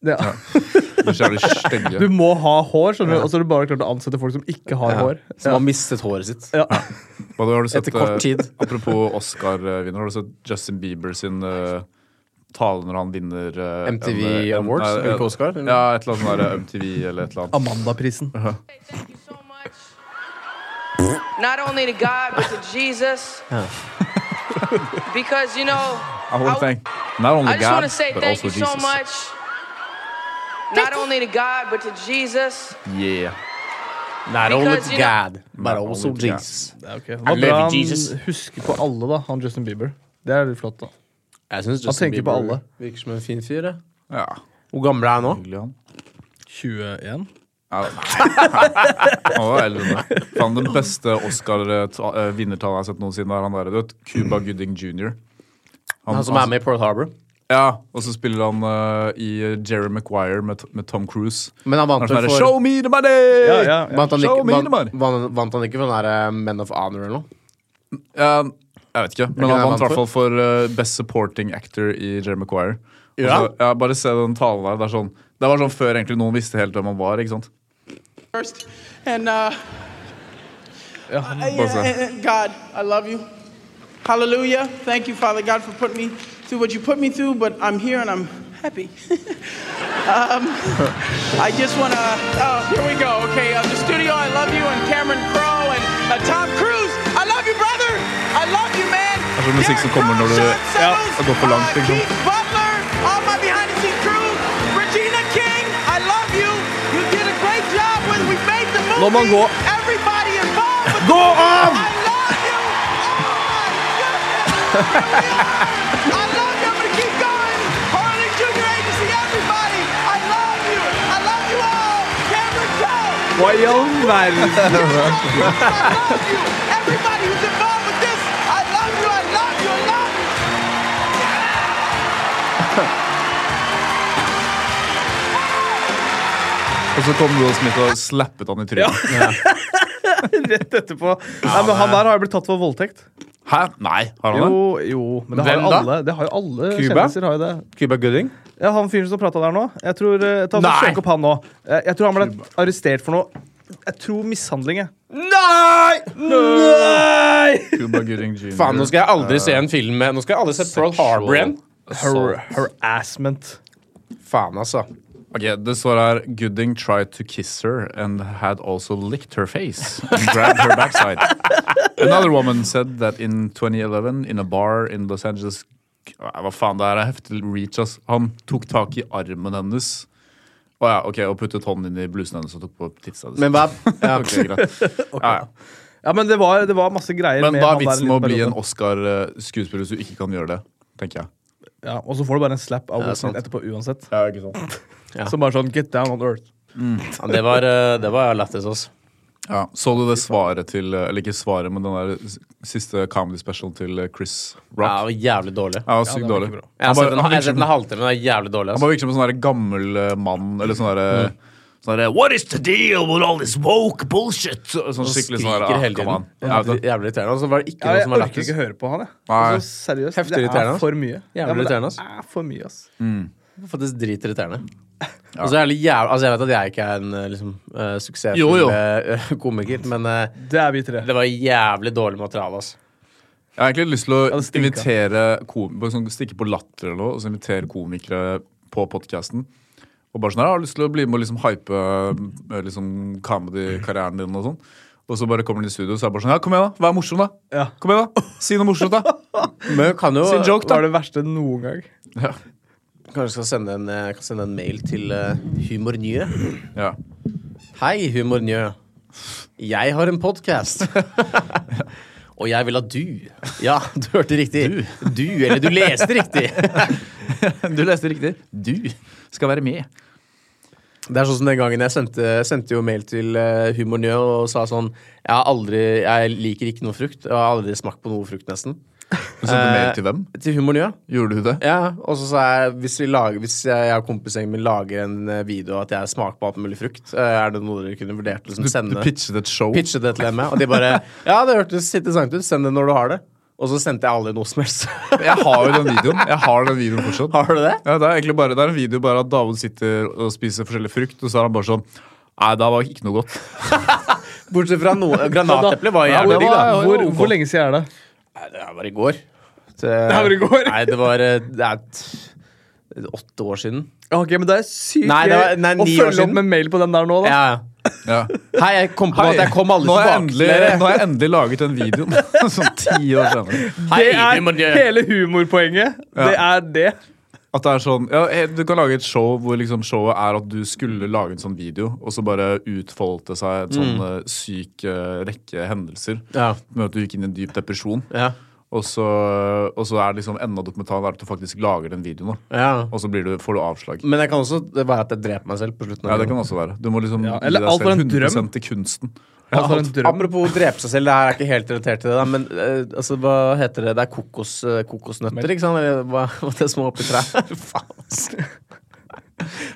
C: det,
A: De er så jævlig
C: Du
A: stygge.
C: må ha hår, skjønner du, og så har du bare klart å ansette folk som ikke har hår.
B: Som har mistet håret sitt.
C: Ja.
A: Hva, har du sett,
B: Etter kort
A: eh,
B: tid.
A: Apropos Oscar-vinner, har du sett Justin Bieber sin eh, tale når han vinner eh,
B: MTV
A: eh,
B: Awards?
A: eh,
B: Hvilke Oscar?
A: Ja, et eller annet sånn der, eh, MTV eller et eller annet.
C: Amandaprisen.
G: Thank you so much. Not only to God, but to Jesus.
A: Oh.
G: because, you know,
A: I want to thank not only
G: I just
A: God,
G: want to say
A: but
G: thank
A: also
G: you so
A: Jesus.
G: much. Not only to God, but to Jesus.
A: Yeah.
B: Not only
G: Because,
B: to
G: you know-
B: God, but
A: Not
B: also
A: only to God.
B: Jesus.
C: Ja, ok. Det
B: I
C: var
B: love
C: bra
B: you,
C: han
B: Jesus.
C: husker på alle, da, han Justin Bieber. Det er litt flott, da.
B: Jeg synes Justin
C: tenker på
B: Bieber
C: alle.
B: Virker som en fin fyr. jeg.
A: Ja.
B: Hvor gammel er han nå?
A: Hyggelig, han.
C: 21?
A: Ja, Han var eldre enn det. Faen, den beste eh, Oscar-vinnertallet jeg har sett noensinne, er han der. Du vet, Cuba Gooding jr.
B: Han som er med i Pearl Harbor.
A: Ja, og så spiller han eh, i Jerry Maguire med, med Tom Cruise.
B: Men han vant
A: Han er sånn der,
B: vel for
A: Show me the money!
C: Ja, ja, ja.
B: Vant han,
A: Show
B: ikke,
A: me the
B: vant,
A: money!
B: vant, vant han ikke for den der eh, Men of Honor eller noe?
A: Ja, jeg vet ikke, men han
B: ikke det
A: vant i hvert
B: han vant
A: fall for eh, Best Supporting Actor i Jerry Maguire. Og
B: Ja.
A: så- ja, bare se den talen der. Det, er sånn, det var sånn før egentlig noen visste helt hvem han var. ikke sant?
H: first. And uh, yeah,
A: Bossa.
H: and- and God, I love you. Hallelujah. Thank you, Father God, for putting me through what you put me through, but I'm here and I'm happy. um, I just want to, oh, here we go. Okay, uh, the studio, I love you, and Cameron Crowe and uh, Tom Cruise. I love you, brother. I love you, man.
A: tror musikken
H: Derek
A: kommer når
H: Crowe,
A: du-
H: Sean
A: ja,
H: Sellers,
A: det går for langt,
H: uh,
A: liksom.
H: Keith Butler, all my behind the scenes crew, Regina King, I love you. You did a great job when we made the movie.
C: Nå må han gå.
H: Everybody involved with
C: Gå av!
H: I love you. Oh my goodness. I love you. I'm gonna keep going. Harley Junior Agency, everybody. I love you. I love you all. Cameron Crowe.
C: Hva i all verden?
H: I love you. Everybody who's involved with this, I love you. I love you. I love you.
A: Og så kom Will Smith og slappet han i trynet.
C: Rett etterpå. Nei, men han der har jo blitt tatt for voldtekt.
A: Hæ? Nei, har han det?
C: Jo, jo. Men det har
A: Hvem
C: jo
A: da?
C: alle, det har jo alle
B: Cuba?
C: kjendiser. Har jo det.
B: Cuba Gooding?
C: Ja, han fyren som prata der nå. Jeg tror, eh, ta,
B: Nei!
C: Søk opp han nå. Eh, Jeg tror han ble arrestert for noe. Jeg tror mishandling, jeg.
B: Nei! Nei!
A: Cuba Gooding Jr.
B: Faen, nå skal jeg aldri se en film med Nå skal jeg aldri se Pearl Harbor igjen.
C: Har harassment.
B: Faen, altså.
A: Ok, Det står her Gooding tried to kiss her and had also licked her face and grabbed her backside. Another woman said that in 2011 in a bar in Los Angeles Nei, Hva faen, det her er heftig reach, ass. Han tok tak i armen hennes. Å ja, ok, og puttet hånden inn i blusen hennes og tok på titsa. hennes.
B: Men hva ja.
A: Ok, greit. Ja, ja.
C: Ja, men det var, det var masse greier
A: Men
C: med
A: hva
C: han
A: er
C: der
A: vitsen med å
C: lille
A: bli en
B: sånn-
C: perioden.
A: Oscar-skuespiller hvis du ikke kan gjøre det? tenker jeg.
C: Ja, Og så får du bare en slap av
B: Ja,
C: Will Smith
B: sant.
C: etterpå uansett.
A: Ja, ikke sant?
C: Som bare sånn Get down on earth.
B: Det var, eh, det var lættis, altså.
A: Ja, Så du det svaret til Eller ikke svaret, men den der s- siste comedy special til eh, Chris
B: Ja,
A: Rock?
B: det var jævlig dårlig.
A: Ja, det var sykt
C: det var
A: dårlig.
C: ikke bra.
B: Jeg har
A: Han
B: sett
A: bare,
B: den,
A: han
B: jeg har
A: virker
B: sett den en
A: som,
B: halvtime, men den er jævlig dårlig.
A: han
B: Altså.
A: bare virker som en sånn der gammel eh, mann, eller sånn derre Sånn derre What is the deal with all this woke bullshit? Sånn skikkelig sånn
B: Skriker
A: derre ah,
B: hele
A: Come on.
B: tiden.
A: Ja, vet du.
B: Jævlig irriterende. Og så var det ikke
C: Ja,
B: noe
C: jeg
B: som var
C: orker
B: lættis.
C: ikke høre på han, jeg.
A: Nei.
C: Altså, seriøst,
B: Heftig
C: det
B: irriterende,
C: er
B: ass.
C: for mye. Ja, men
B: irriterende, ass.
C: Det er for mye, ass.
B: Faktisk dritirriterende. Og så er det jævlig, altså jeg vet at jeg ikke er en eh, liksom, eh, suksessfull
A: Jo, jo.
B: eh, komiker, men eh,
C: Det er vi tre.
B: det var jævlig dårlig materiale. Altså.
A: Jeg har egentlig lyst til å
C: det stinker.
A: invitere kom- bare sånn, Stikke på latter eller noe, og så invitere komikere på podkasten. Og bare sånn her, «Jeg har lyst til å bli med og liksom hype eh, liksom, comedy-karrieren din og sånn. Og så bare kommer de i studio og så er det bare sånn Ja, kom igjen, da! Vær morsom, da!
C: Ja.
A: Kom igjen, da! Si noe morsomt, da!
B: Men jeg kan jo
A: Si en joke,
C: Det
A: da!
C: var det verste noen gang.
A: Ja.
B: Kanskje skal sende en, eh, kan sende en mail til eh, Humor Nye.
A: ja.
B: Hei, Humor Njø. Jeg har en podkast. Og jeg vil at du Ja, du hørte riktig. Du. eller du leste riktig.
A: Du leste riktig. Du skal være med.
B: Det er sånn som den gangen jeg sendte, sendte jo mail til eh, Humor Njø og sa sånn Jeg har aldri Jeg liker ikke noe frukt. Jeg har aldri smakt på noe frukt, nesten.
A: Du sendte
B: Eh,
A: mail til hvem?
B: Til Humor Njø.
A: Gjorde du det?
B: Ja, og så sa jeg hvis, vi lager, hvis jeg og kompisgjengen min lager en eh, video at jeg smaker på alt mulig frukt, eh, er det noe dere kunne vurdert å
A: Du,
B: liksom,
A: du
B: sende?
A: pitchet et show.
B: pitchet det til dem, ja. Og de bare Ja, det hørtes interessant ut. Send det når du har det. Og så sendte jeg aldri noe som helst.
A: Jeg har jo den videoen. Jeg har den videoen fortsatt.
B: Har du det?
A: Ja, det er egentlig bare, det er en video bare at David sitter og spiser forskjellig frukt, og så er han bare sånn Nei, det var ikke noe godt.
B: Bortsett fra noe Granateplet var
A: Ja,
B: jævlig
A: det
B: digg,
A: var-
B: da.
A: ja,
C: Hvor,
A: ok.
C: hvor lenge siden er det?
B: Nei, det var i går. Det,
C: var i går?
B: Nei, det var eh, Det er t- åtte år siden.
C: Ok, men det er sykt
B: Nei, det var-
C: gøy
B: nei,
C: å
B: ni år
C: følge
B: siden.
C: opp med mail på den der nå, da.
B: Ja, ja.
A: Ja.
B: Hei, jeg kom på at jeg kom aldri
A: nå har jeg, endelig,
B: tilbake til dere.
A: nå har jeg endelig laget den videoen. sånn ti år senere.
B: Hei,
C: Det
B: vi må
C: er
B: gjøre-
C: hele humorpoenget. Det er det.
A: At det er sånn, ja, eh, Du kan lage et show hvor liksom showet er at du skulle lage en sånn video, og så bare utfoldet det seg en sånn eh, syk eh, rekke hendelser.
B: Mm. Ja,
A: Med at du gikk inn i en dyp depresjon.
B: ja,
A: Og så, og så er det liksom enden av dokumentaren er at du faktisk lager den videoen. da.
B: ja.
A: Og så blir du, får du avslag.
B: Men det kan også være at jeg dreper meg selv på slutten.
A: Ja, det kan også være. Du må liksom
C: Ja,
A: gi
C: eller
A: deg
C: alt for
A: selv
C: en drøm.
A: 100 til kunsten.
C: Alt for en drøm.
B: Altså, Apropos drepe seg selv, det her er ikke helt relatert til det, da, men eh, altså, hva heter det? Det er kokos, eh, kokosnøtter, ikke sant? Eller hva, hva det er som er oppi trær? Faen, ass.
A: altså.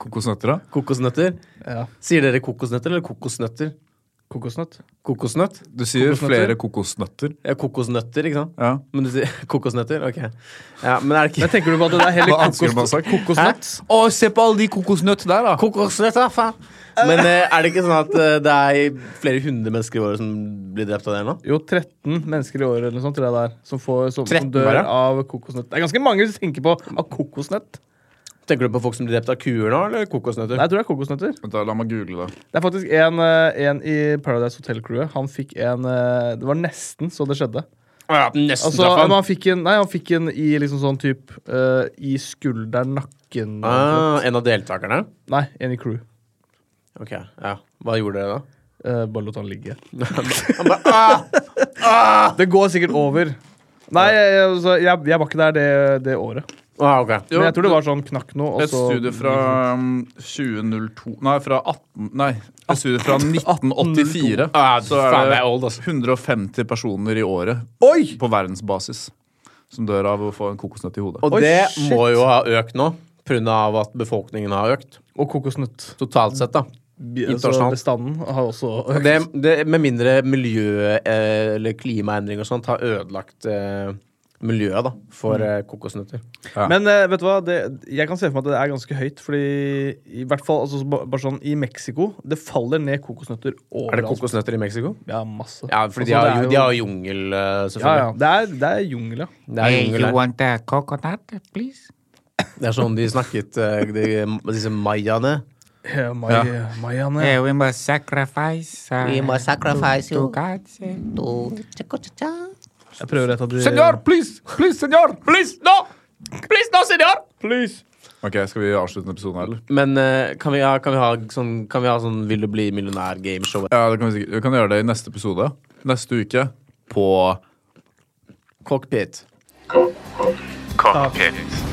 A: Kokosnøtter, da?
B: kokosnøtter?
C: Ja.
B: Sier dere kokosnøtter eller kokosnøtter?
C: Kokosnøtt.
B: Kokosnøtt?
A: Du sier
C: Kokosnøtter?
A: flere kokosnøtter.
B: Ja, kokosnøtter, ikke sant?
A: Ja.
B: Men du sier kokosnøtter? Ok. Ja, men er det ikke
C: Men tenker du på at det er heller
A: Hva annet skulle man sagt?
C: kokosnøtt?
B: Å, se på alle de kokosnøttene der, da! Kokosnøtter, faen! Men eh, er det ikke sånn at eh, det er flere hundre mennesker i året som blir drept av det nå?
C: Jo, 13 mennesker i året eller noe sånt, tror jeg det er, som, får, som,
B: 13
C: som dør
B: bare?
C: av kokosnøtt. Det er ganske mange som tenker på av kokosnøtt.
B: Tenker du på folk som blir drept av kuer nå, eller kokosnøtter?
C: Nei, jeg tror det er kokosnøtter.
A: Vent da, La meg google det.
C: Det er faktisk en, eh, en i Paradise Hotel-crewet. Han fikk en eh, Det var nesten så det skjedde.
B: Ja, nesten
C: Altså,
B: traff
C: men
B: han.
C: han fikk en, nei, han fikk en i liksom sånn type I skulderen, nakken
B: Ah, en av deltakerne?
C: Nei, en i crew.
B: Ok, ja. Hva gjorde dere da?
C: Eh, bare lot han ligge.
B: Han bare, ah!
C: Det går sikkert over. Nei, jeg, jeg, altså, jeg, jeg var ikke der det, det året.
B: Ah, ok.
C: Men jeg tror det var sånn knakk nå. og
A: Et
C: så-
A: studie fra um, 2002 Nei, fra 18... Nei. Et studie fra 1984.
B: Ah,
A: Så er
B: faen,
A: det
B: det er old, altså.
A: 150 personer i året
C: Oi!
A: på verdensbasis som dør av å få en kokosnøtt i hodet.
B: Og
C: Oi,
B: det
C: shit.
B: må jo ha økt nå, pga. at befolkningen har økt.
C: Og kokosnøtt.
B: Totalt sett, da.
C: Bi- Altså,
B: Internasjonalt.
C: bestanden har også
B: Og Det, det, med mindre miljø eh, eller klimaendring og sånt har ødelagt eh, miljøet da, for eh, kokosnøtter.
C: Men eh, vet du hva, det, jeg kan se for meg at det er ganske høyt. Fordi i hvert fall altså, så ba- bare sånn i Mexico Det faller ned kokosnøtter overalt.
B: Er det kokosnøtter i Mexico?
C: Ja, masse.
B: Ja, for de,
C: Altså,
B: har
C: det er
B: jo-
C: jo-
B: de har jungel, eh,
C: ja,
B: selvfølgelig.
C: ja. Det er, det er jungel, ja.
B: Det er jungel der.
H: want a coconut, please?
B: Det er sånn de snakket, eh, de, disse mayaene.
C: Eh, mai- Mayaene.
H: Yeah, we must sacrifice. Uh,
I: We must sacrifice
H: to
I: you.
H: God.
I: to cha-cha-cha-cha.
C: Jeg prøver et av é de
A: please! Please, senor! Please, no!
B: Please, no, senor!
C: please!
A: Ok, Skal vi avslutte denne episoden her, eller?
B: Men eh, kan, vi ha, kan, vi ha sånn, kan vi ha sånn Vil du bli millionær-gameshow?
A: Ja, det kan vi sikkert. Vi kan gjøre det i neste episode. Neste uke på
B: Cockpit.
J: Cockpit.